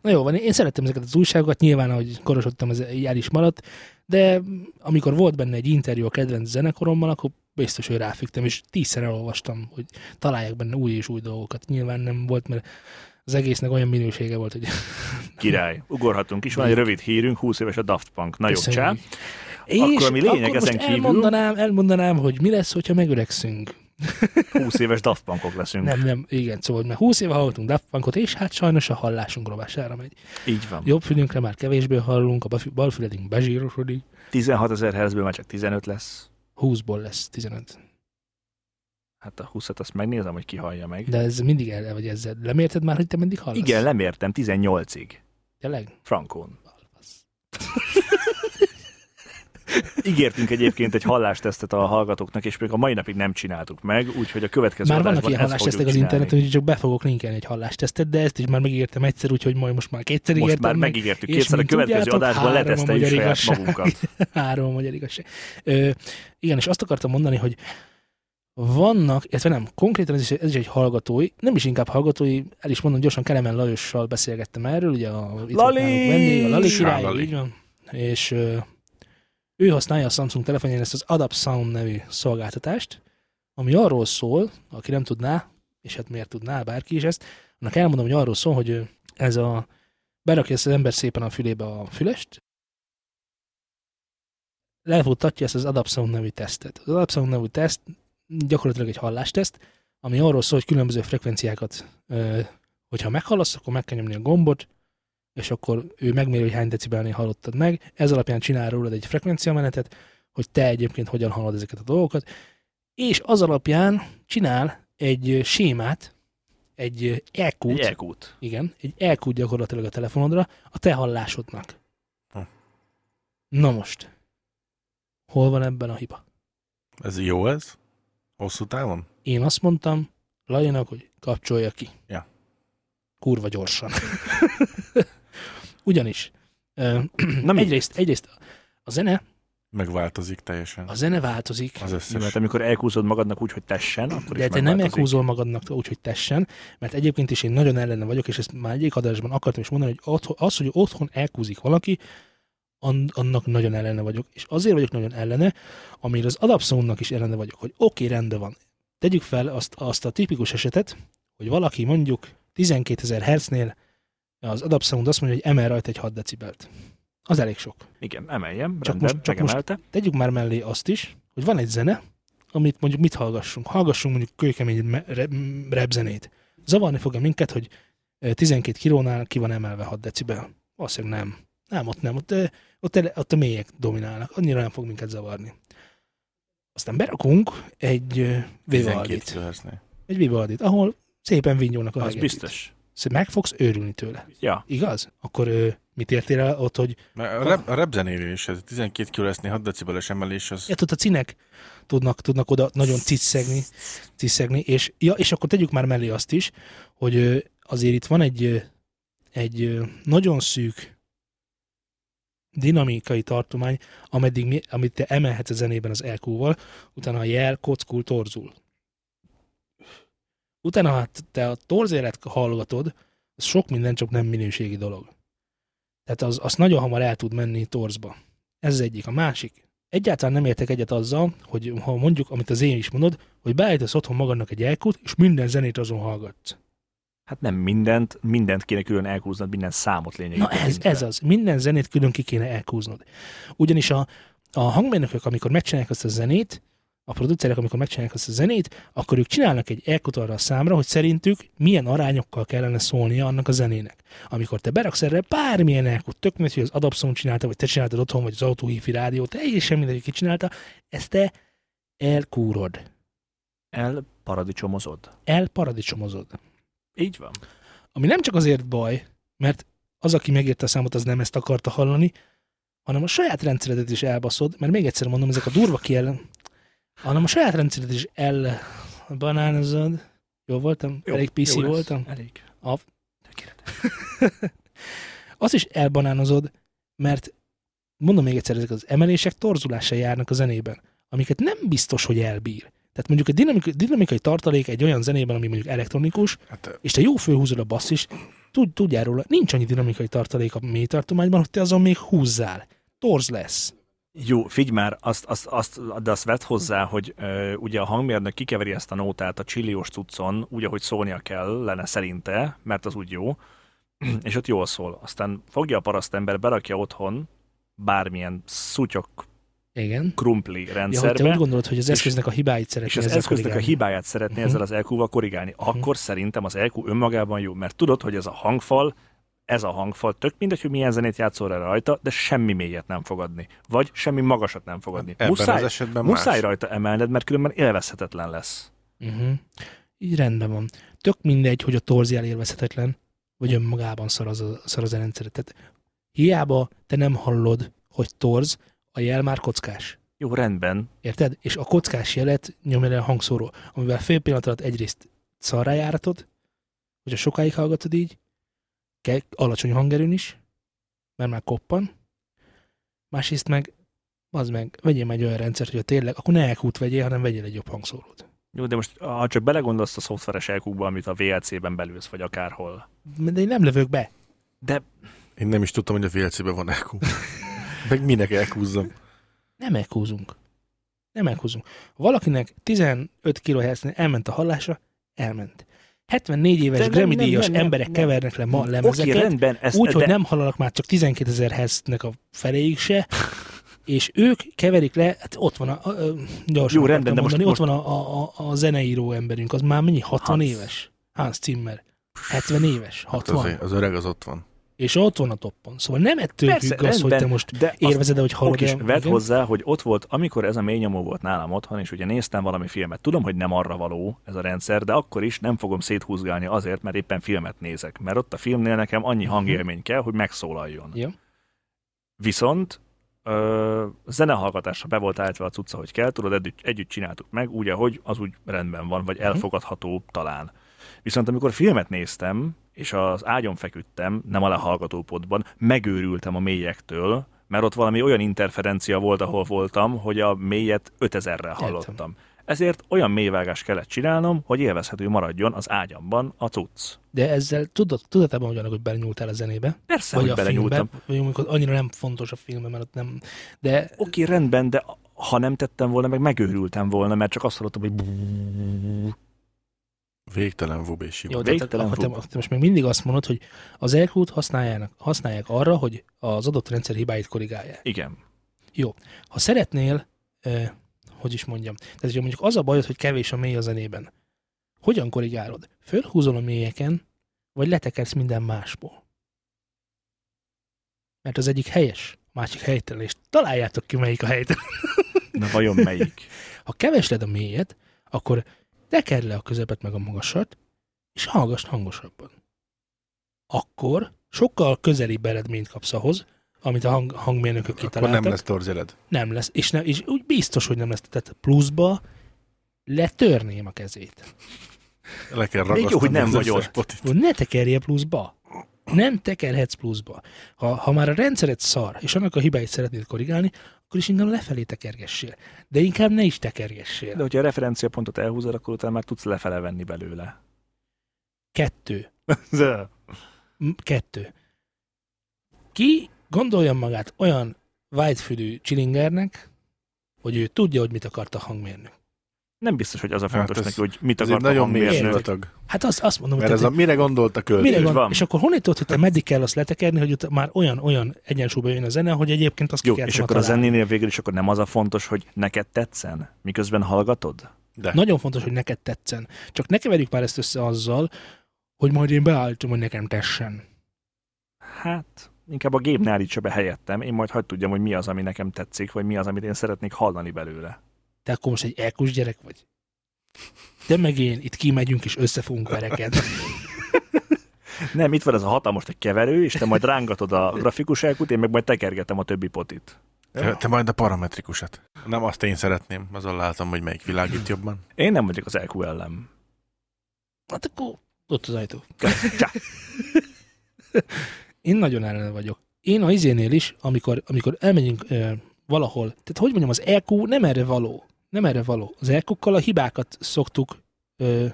S2: Na jó, van, én szerettem ezeket az újságokat, nyilván, ahogy korosodtam, ez így el is maradt, de amikor volt benne egy interjú a kedvenc zenekarommal, akkor biztos, hogy ráfügtem, és tízszer elolvastam, hogy találják benne új és új dolgokat. Nyilván nem volt, mert az egésznek olyan minősége volt, hogy
S3: Király. Ugorhatunk is. Van egy rövid hírünk, 20 éves a Daft Punk. Na jó,
S2: köszönjük.
S3: csá.
S2: És
S3: Akkor ami lényeg
S2: akkor
S3: ezen
S2: most
S3: kívül- Hm.
S2: Elmondanám, elmondanám, hogy mi lesz, hogyha megöregszünk.
S3: 20 éves Daft Punkok leszünk.
S2: Nem, nem, igen, szóval mert 20 éve hallottunk Daft Punkot, és hát sajnos a hallásunk rovására megy.
S3: Így van.
S2: Jobb fülünkre már kevésbé hallunk, a bafü- bal fületünk bezsírosodik,
S3: 16 ezer hertzből már csak 15 lesz.
S2: 20-ból lesz 15.
S3: Hát a 20-at azt megnézem, hogy ki hallja meg.
S2: De ez mindig el, vagy ezzel. Lemérted már, hogy te mindig hallasz?
S3: Igen, lemértem 18-ig.
S2: Tényleg?
S3: Frankon.
S2: Fasz.
S3: Ígértünk egyébként egy hallástesztet a hallgatóknak, és még a mai napig nem csináltuk meg, úgyhogy a következő
S2: Már vannak
S3: adásban
S2: ilyen
S3: ezt
S2: hallástesztek az
S3: fogjuk csinálni.
S2: interneten, hogy csak be fogok linkelni egy hallástesztet, de ezt is már megígértem egyszer, úgyhogy majd most már kétszer
S3: Most
S2: ígértem
S3: már
S2: meg.
S3: megígértük
S2: és
S3: kétszer, a
S2: mint
S3: következő
S2: tudjátok,
S3: adásban
S2: három a
S3: leteszteljük
S2: magyar igazság.
S3: saját magunkat.
S2: Három a magyar igazság. Ö, igen, és azt akartam mondani, hogy vannak, illetve nem, konkrétan ez is, ez is egy hallgatói, nem is inkább hallgatói, el is mondom gyorsan, Kelemen Lajossal beszélgettem erről, ugye a, itt volt
S3: Lali!
S2: nálunk vendég, a Lali
S4: Sá,
S2: király,
S4: Lali.
S2: így van, és ö, ő használja a Samsung telefonján ezt az Adapt Sound nevű szolgáltatást, ami arról szól, aki nem tudná, és hát miért tudná bárki is ezt, annak elmondom, hogy arról szól, hogy ö, ez a berakja ezt az ember szépen a fülébe a fülest, lefutatja ezt az Adapsound nevű tesztet. Az Adapsound nevű teszt gyakorlatilag egy hallásteszt, ami arról szól, hogy különböző frekvenciákat, ö, hogyha meghallasz, akkor meg kell nyomni a gombot, és akkor ő megméri, hogy hány decibelnél hallottad meg. Ez alapján csinál rólad egy frekvenciamenetet, hogy te egyébként hogyan hallod ezeket a dolgokat, és az alapján csinál egy ö, sémát, egy E ö, EQ-t,
S3: Egy elkút.
S2: igen, egy elkúd gyakorlatilag a telefonodra a te hallásodnak.
S4: Ha.
S2: Na most, hol van ebben a hiba?
S4: Ez jó ez? Hosszú távon?
S2: Én azt mondtam Lajinak, hogy kapcsolja ki.
S4: Ja.
S2: Kurva gyorsan. Ugyanis, ö,
S3: Na mi?
S2: egyrészt, egyrészt a zene,
S4: Megváltozik teljesen.
S2: a zene változik,
S4: Az
S3: Jó,
S4: összes.
S3: hát amikor elkúzod magadnak úgy, hogy tessen, akkor
S2: de
S3: is
S2: te nem
S3: megváltozik.
S2: elhúzol magadnak úgy, hogy tessen, mert egyébként is én nagyon ellene vagyok, és ezt már egyik adásban akartam is mondani, hogy otthon, az, hogy otthon elkúzik valaki, an- annak nagyon ellene vagyok. És azért vagyok nagyon ellene, amire az adapszónnak is ellene vagyok, hogy oké, rendben van. Tegyük fel azt, azt a tipikus esetet, hogy valaki mondjuk 12.000 Hz-nél az Adapt Sound azt mondja, hogy emel rajta egy 6 decibelt. Az elég sok.
S3: Igen, emeljem,
S2: Csak
S3: csak rendben,
S2: most-
S3: most,
S2: csak
S3: csak
S2: most-
S3: megemelte. Most.
S2: Tegyük már mellé azt is, hogy van egy zene, amit mondjuk mit hallgassunk. Hallgassunk mondjuk kőkemény me- re- m- rap zenét. Zavarni fog-e minket, hogy ö, 12 kilónál ki van emelve 6 decibel? Valószínűleg nem. Nem, ott nem. Ott, ö, ott, ele- ott a mélyek dominálnak. Annyira nem fog minket zavarni. Aztán berakunk egy ö, Vivaldit.
S4: kHz-nél.
S2: Egy Vivaldit, ahol szépen vinyónak a
S3: Az
S2: hegedűt.
S3: biztos.
S2: Szóval Meg fogsz őrülni tőle.
S3: Ja,
S2: Igaz? Akkor ö, mit értél el ott, hogy
S4: Mert A rap, a rap zenénél is, ez a 12 kHz-nél 6 decibeles emelés az...
S2: Ja, tudod, a cinek tudnak, tudnak oda nagyon ciszegni, ciszegni és, ja, és akkor tegyük már mellé azt is, hogy ö, azért itt van egy, ö, egy ö, nagyon szűk dinamikai tartomány, ameddig mi, amit te emelhetsz a zenében az EQ-val, utána a jel kockul, torzul. Utána, ha te a torzélet hallgatod, az sok minden, csak nem minőségi dolog. Tehát az, az nagyon hamar el tud menni torzba. Ez az egyik. A másik, egyáltalán nem értek egyet azzal, hogy ha mondjuk, amit az én is mondod, hogy beállítasz otthon magadnak egy elkút, és minden zenét azon hallgatsz.
S3: hát nem mindent, mindent kéne külön elkúznod, minden számot lényegében.
S2: Na ez,
S3: tekintve.
S2: ez az. Minden zenét külön ki kéne elkúznod. Ugyanis a, a hangmérnökök, amikor megcsinálják azt a zenét, a producerek, amikor megcsinálják azt a zenét, akkor ők csinálnak egy elkut arra a számra, hogy szerintük milyen arányokkal kellene szólnia annak a zenének. Amikor te beraksz erre bármilyen elkut, tök mindegy, hogy az Adapson csinálta, vagy te csináltad otthon, vagy az autóhífi rádió, teljesen mindegy, hogy ki csinálta, ezt te elkúrod.
S3: El paradicsomozod.
S2: elparadicsomozod.
S3: Így van.
S2: Ami nem csak azért baj, mert az, aki megírta a számot, az nem ezt akarta hallani, hanem a saját rendszeredet is elbaszod, mert még egyszer mondom, ezek a durva kiel, hanem a saját rendszeredet is elbanánozod. Jó voltam? Jó, Elég PC
S3: lesz.
S2: voltam?
S3: Elég.
S2: A-
S3: Tökéletes.
S2: Azt is elbanánozod, mert mondom még egyszer, ezek az emelések torzulással járnak a zenében, amiket nem biztos, hogy elbír. Tehát mondjuk egy dinamik- dinamikai tartalék egy olyan zenében, ami mondjuk elektronikus,
S4: Hát,
S2: és te jó főhúzod a basszis, tud, tudjál róla, nincs annyi dinamikai tartalék a mély tartományban, hogy te azon még húzzál. Torz lesz.
S3: Jó, figy már, azt, azt, azt, de azt vett hozzá, hogy ö, ugye a hangmérnök kikeveri ezt a nótát a csilliós cuccon, úgy, ahogy szólnia kellene szerinte, mert az úgy jó, és ott jól szól. Aztán fogja a parasztember, berakja otthon bármilyen szutyok
S2: Igen.
S3: krumpli
S2: Ja, hogy te úgy
S3: rendszerbe,
S2: gondolod, hogy az eszköznek a hibáit
S3: és
S2: szeretnél
S3: az
S2: ezzel
S3: eszköznek a
S2: korrigálni.
S3: hibáját szeretné
S2: Mhm.
S3: ezzel az EQ-val korrigálni, akkor szerintem az EQ önmagában jó, mert tudod, hogy ez a hangfal, ez a hangfal, tök mindegy, hogy milyen zenét játszol rá rajta, de semmi mélyet nem fogadni, vagy semmi magasat nem
S2: Hát
S3: fogadni.
S4: ebben az esetben
S3: Muszáj
S4: más.
S3: rajta emelned, mert különben élvezhetetlen lesz.
S2: Uh-huh. Így rendben van. Tök mindegy, hogy a torzi elérvezhetetlen,
S3: Mm.
S2: vagy önmagában szar az a, szar az a rendszer. Tehát hiába te nem hallod, hogy torz, a jel már kockás.
S3: Jó, rendben.
S2: Érted? És a kockás jelet nyomja le a hangszóró, amivel fél pillanat alatt egyrészt szarrá járatod, hogyha sokáig hallgatod így, kell alacsony hangerőn is, mert már koppan, másrészt meg, az meg, vegyél meg egy olyan rendszert, hogy a tényleg, akkor ne elkút vegyél, hanem vegyél egy jobb hangszórót.
S3: Jó, de most ha csak belegondolsz a szoftveres elkúkba, amit a VLC-ben belülsz, vagy akárhol.
S2: De én nem lövök be.
S3: De
S4: Én nem is tudtam, hogy a VLC-ben van EQ. Meg minek E elkúzzam.
S2: Nem elkúzunk. Nem elkúzunk. Ha valakinek 15 kHz-nél elment a hallása, elment. 74 éves
S3: De nem,
S2: Grammy
S3: nem,
S2: díjas
S3: nem, nem,
S2: emberek
S3: nem.
S2: kevernek le ma
S3: oké,
S2: lemezeket,
S3: rendben, ezt,
S2: úgy, hogy
S3: de,
S2: nem hallanak már csak 12 ezer hertznek a feléig se, és ők keverik le, hát ott van a, a, a gyorsan
S3: Jó, rendben,
S2: akartam
S3: de most-
S2: mondani,
S3: most-
S2: ott van a, a, a, a zeneíró emberünk, az már mennyi? 60
S3: Hans.
S2: éves? Hans Zimmer. 70 éves?
S4: Hát
S2: 60.
S4: az, az öreg az ott van.
S2: és ott van a toppon. Szóval nem ettől
S3: Persze,
S2: függ az, hogy te
S3: rendben,
S2: most
S3: de azt
S2: érvezed, hogy hallod.
S3: Ok, is
S2: el-
S3: vedd
S2: igen.
S3: hozzá, hogy ott volt, amikor ez a mély nyomó volt nálam otthon, és ugye néztem valami filmet. Tudom, hogy nem arra való ez a rendszer, de akkor is nem fogom széthúzgálni azért, mert éppen filmet nézek. Mert ott a filmnél nekem annyi hangélmény kell, hogy megszólaljon.
S2: Ja.
S3: Viszont ö, zenehallgatásra be volt állítva a cucca, hogy kell, tudod, együtt, együtt csináltuk meg, úgy, ahogy az úgy rendben van,
S2: Mhm.
S3: vagy elfogadható talán. Viszont amikor filmet néztem, és az ágyon feküdtem, nem a lehallgatópodban, megőrültem a mélyektől, mert ott valami olyan interferencia volt, ahol voltam, hogy a mélyet 5000-rel hallottam. Ezért olyan mélyvágást kellett csinálnom, hogy élvezhető maradjon az ágyamban a cucc.
S2: De ezzel tudod, tudatában vagy annak, hogy belenyúltál a zenébe,
S3: Persze,
S2: vagy
S3: hogy
S2: a filmbe,
S3: belenyúltam.
S2: vagy amikor annyira nem fontos a film, mert ott nem... De
S3: oké, rendben, de ha nem tettem volna, meg megőrültem volna, mert csak azt hallottam, hogy
S4: Végtelen vub és hiba.
S2: Jó, de te,
S3: Végtelen
S2: akkor te,
S3: fog.
S2: te most még mindig azt mondod, hogy az erkút használják, használják arra, hogy az adott rendszer hibáit korrigálják.
S3: Igen.
S2: Ha szeretnél, eh, hogy is mondjam, tehát hogyha mondjuk az a bajod, hogy kevés a mély a zenében, hogyan korrigálod? Fölhúzol a mélyeken, vagy letekersz minden másból? Mert az egyik helyes, a másik helytelen, és találjátok ki, melyik a helytelen.
S3: Na vajon melyik?
S2: Ha kevesled a mélyet, akkor tekerd le a közepet meg a magasat, és hallgass hangosabban. Akkor sokkal közelibb eredményt kapsz ahhoz, amit a hang, hangmérnökök
S4: Akkor
S2: kitaláltak.
S4: nem lesz torzeled.
S2: Nem lesz, és, nem, és úgy biztos, hogy nem lesz. Tehát pluszba letörném a kezét.
S4: Le kell
S3: Még jó, hogy nem vagy ott.
S4: Spotit.
S2: Hogy Ne tekerje pluszba. Nem tekerhetsz pluszba. Ha, ha már a rendszered szar, és annak a hibáit szeretnéd korrigálni, akkor is inkább lefelé tekergessél. De inkább ne is tekergessél.
S3: De hogyha a referenciapontot elhúzod, akkor utána már tudsz lefele venni belőle.
S2: Kettő.
S3: De
S2: M- Kettő. Ki gondolja magát olyan vágyfülű csilingernek, hogy ő tudja, hogy mit akart a hangmérnök.
S3: Nem biztos, hogy az a
S4: Hát
S3: fontos
S4: ez-
S3: neki, hogy mit
S4: Ez egy
S3: akart a
S4: nagyon mély
S3: hangmérnök.
S2: Miért?
S4: sivatag.
S2: Hát azt, azt mondom, hogy
S4: Mert ez
S2: tehát
S4: a mire gondolt a költő?
S2: Mire
S3: Így
S2: gond,
S3: van.
S2: És akkor honnét tudod, hogy te meddig kell azt letekerni, hogy ott már olyan, olyan egyensúlyba jön a zene, hogy egyébként azt
S3: Jó,
S2: ki kell
S3: és
S2: tudnod
S3: akkor a
S2: találni.
S3: zenénél végül is akkor nem az a fontos, hogy neked tetszen, miközben hallgatod?
S4: De.
S2: Nagyon fontos, hogy neked tetszen. Csak ne keverjük már ezt össze azzal, hogy majd én beállítom, hogy nekem tessen.
S3: Hát, inkább a gép ne állítsa be helyettem, én majd hagyd tudjam, hogy mi az, ami nekem tetszik, vagy mi az, amit én szeretnék hallani belőle.
S2: Te akkor most egy elkus gyerek vagy. De meg én, itt kimegyünk és össze fogunk verekedni.
S3: Nem, itt van ez a hatalmas egy keverő, és te majd rángatod a grafikus elkút, én meg majd tekergetem a többi potit.
S4: Te, te majd a parametrikusat. Nem, azt én szeretném. Azon látom, hogy melyik világít jobban.
S3: Én nem vagyok az E LQL-em.
S2: Hát akkor ott az ajtó. Én nagyon ellene vagyok. Én a izénél is, amikor, amikor elmegyünk ö, valahol, tehát hogy mondjam, az EQ nem erre való. Nem erre való. Az EQ-kkal a hibákat szoktuk ö,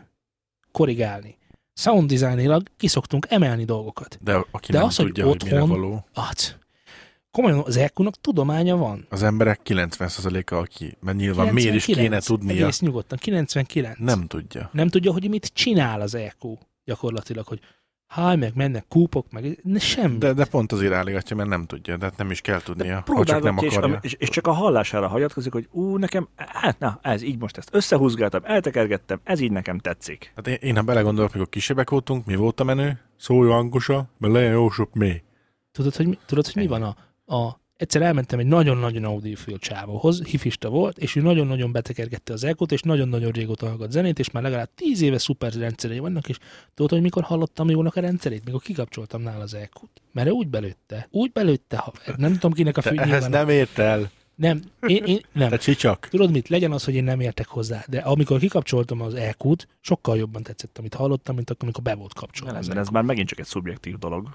S2: korrigálni. Sound designilag kiszoktunk emelni dolgokat.
S4: De aki
S2: De
S4: nem
S2: az, hogy
S4: tudja, hogy, mire
S2: otthon-
S4: való.
S2: Hát, komolyan az EQ-nak tudománya van.
S4: Az emberek 90%-a, aki, mert nyilván miért is kéne
S2: 99,
S4: tudnia,
S2: Egész nyugodtan, 99.
S4: nem tudja.
S2: nem tudja, hogy mit csinál az EQ gyakorlatilag, hogy háj, meg mennek kúpok, meg ne, semmi.
S4: De, de pont azért állítja, mert nem tudja, de hát nem is kell tudnia, ha csak nem
S3: Próbálgatja, és,
S4: akarja.
S3: am- és, és, csak a hallására hagyatkozik, hogy ú, nekem, hát na, ez így most ezt összehúzgáltam, eltekergettem, ez így nekem tetszik.
S4: Hát én, én ha belegondolok, mikor kisebbek voltunk, mi volt a menő? Szólj hangosa, mert legyen jó sok mély.
S2: Tudod, hogy, mi- tudod, hogy mi van a, a egyszer elmentem egy nagyon-nagyon audiophil csávóhoz, hifista volt, és ő nagyon-nagyon betekergette az elkot, és nagyon-nagyon régóta hallgat zenét, és már legalább tíz éve szuper rendszerei vannak, és tudod, hogy mikor hallottam jónak a rendszerét? Mikor kikapcsoltam nála az elkot. Mert ő úgy belőtte, úgy belőtte, ha, nem tudom kinek a
S4: Te
S2: fű
S4: ehhez
S2: nyilván-
S4: nem ért el,
S2: nem, én, én, nem.
S4: te csicsak.
S2: Tudod mit, legyen az, hogy én nem értek hozzá, de amikor kikapcsoltam az EQ-t, sokkal jobban tetszett, amit hallottam, mint akkor, amikor be volt kapcsolva.
S3: Nem,
S2: az
S3: mert ez
S2: EQ.
S3: már megint csak egy szubjektív dolog.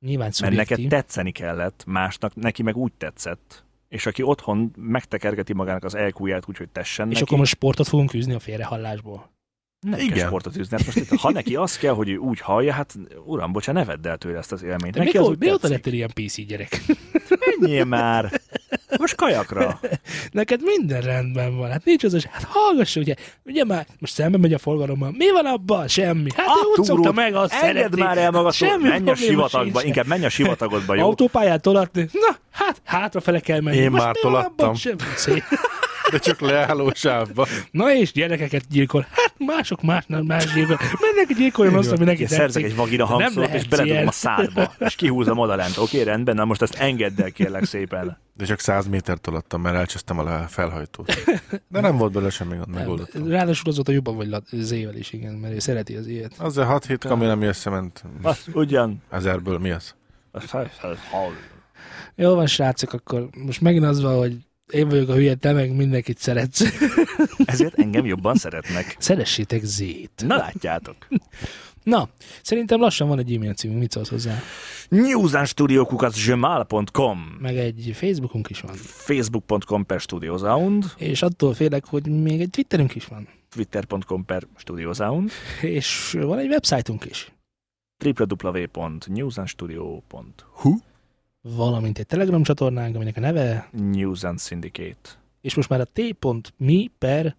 S2: Nyilván
S3: Mert
S2: szubjektív.
S3: neked tetszeni kellett, másnak, neki meg úgy tetszett. És aki otthon megtekergeti magának az LQ-ját úgy, hogy tessen
S2: És
S3: neki,
S2: akkor most sportot fogunk űzni a félrehallásból.
S3: nem kell
S4: Igen.
S3: sportot üzni. Hát most itt, ha neki az kell, hogy ő úgy hallja, hát uram, bocsánat, ne vedd el tőle ezt az élményt.
S2: De
S3: neki az
S2: mikor,
S3: úgy
S2: mióta
S3: tetszik.
S2: lettél ilyen PC gyerek?
S3: Menjél már! Most kajakra.
S2: Neked minden rendben van. Hát nincs az, hogy hát hallgass, ugye, ugye már most szembe megy a forgalommal. Mi van abban? Semmi. Hát
S3: A
S2: én úgy
S3: túrót,
S2: szokta meg, azt
S3: Ah, Engedd
S2: szeretni.
S3: már el magad,
S2: Semmi
S3: menj a
S2: probléma
S3: sivatagba,
S2: sincs.
S3: inkább menj a sivatagodba, jó?
S2: Autópályát tolatni? Na, hát hátrafele kell menni.
S4: Én
S2: Most
S4: már
S2: mi van abban?
S4: tolattam.
S2: Semmi. Szép.
S4: De csak leálló sávba.
S2: Na és gyerekeket gyilkol. Hát mások másnál más gyilkol. Mindenki gyilkoljon azt, ami neki
S3: Én szerzek egy
S2: tetszik.
S3: vagina
S2: De nem
S3: hangszórót,
S2: lehet
S3: és beledugom
S2: ilyen.
S3: a szádba, és kihúzom oda lent. Oké, rendben, na most ezt engedd el, kérlek szépen.
S4: De csak 100 métert alattam, mert elcsesztem a le- felhajtót. De nem volt belőle semmi gond, megoldottam.
S2: Ráadásul azóta jobban vagy lat- zével is, igen, mert ő szereti az ilyet.
S4: Azzal 6-7 kamion, ami összement
S3: Az ugyan...
S4: ezerből, mi az?
S2: Jó van, srácok, akkor most megint az van, hogy én vagyok a hülye, te meg mindenkit szeretsz.
S3: Ezért engem jobban szeretnek.
S2: Szeressétek zét.
S3: Na látjátok.
S2: Na, szerintem lassan van egy e-mail címünk, mit szólsz hozzá?
S3: newsandstudiokukat.gmail.com
S2: Meg egy Facebookunk is van.
S3: facebook.com per studiosound,
S2: És attól félek, hogy még egy Twitterünk is van.
S3: twitter.com per studiosound,
S2: És van egy websájtunk is.
S3: www.newsandstudio.hu
S2: Valamint egy Telegram csatornánk, aminek a neve,
S3: News and Syndicate.
S2: és most már a t.me per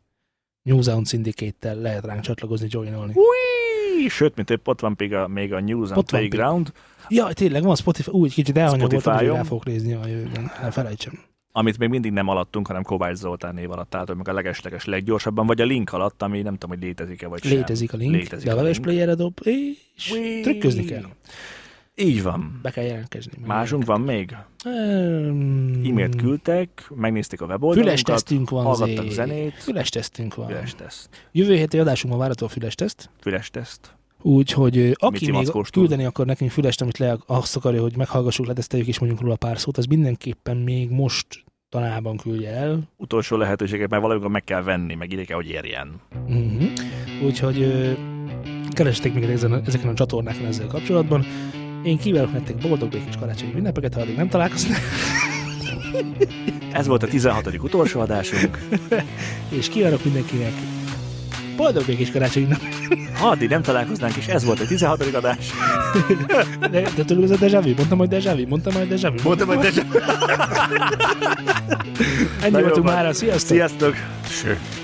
S2: New Zealand Syndicate-tel lehet ránk csatlakozni, joinolni.
S3: Ui, sőt, mint épp ott van még a, még a News and
S2: Ott van
S3: Playground,
S2: Ja, tényleg van Spotify, úgy kicsit elhanyagoltam, hogy
S3: Spotify-on.
S2: rá fogok nézni a jövőben. Elfelejtsem.
S3: amit még mindig nem alattunk, hanem Kovács Zoltán név alatt álltunk, meg a legesleges leggyorsabban, vagy a link alatt, ami nem tudom, hogy létezik-e vagy sem.
S2: Létezik a link, Létezik de a Veles Playerre dob, és
S3: Ui.
S2: trükközni kell.
S3: Így van.
S2: Be kell jelentkezni.
S3: Másunk van még.
S2: Ehm,
S3: E-mailt küldtek, megnézték a
S2: Füles
S3: weboldalunkat,
S2: tesztünk van.
S3: hallgattak
S2: zé.
S3: zenét.
S2: Füles tesztünk van.
S3: Füles teszt.
S2: Jövő héti adásunkban várható a füles teszt.
S3: Füles teszt.
S2: Úgyhogy ö, aki
S3: Mici
S2: még
S3: Mackós tud.
S2: küldeni akar nekünk fülest, amit le azt akarja, hogy meghallgassuk, hát leteszteljük és mondjunk róla pár szót, az mindenképpen még most tanában küldje el.
S3: Utolsó lehetőséget, mert valamikor meg kell venni, meg ide kell, hogy érjen.
S2: Uh-huh. Úgyhogy ö, kerestek még ezen, ezeken a csatornákon ezzel kapcsolatban. Én kívánok nektek boldog, békés karácsonyi ünnepeket, ha addig nem találkoznak,
S3: Ez volt a 16. utolsó adásunk.
S2: és kívánok mindenkinek boldog, békés karácsonyi ünnepeket.
S3: Ha addig nem találkoznánk, és ez volt a 16. adás.
S2: De, de tudod, ez a déjà vu, mondtam, hogy déjà vu, mondtam, hogy déjà vu.
S3: Mondtam, hogy de
S2: Ennyi
S3: Nagyon
S2: voltunk
S3: van.
S2: már, sziasztok!
S3: Sziasztok!
S4: Sőt.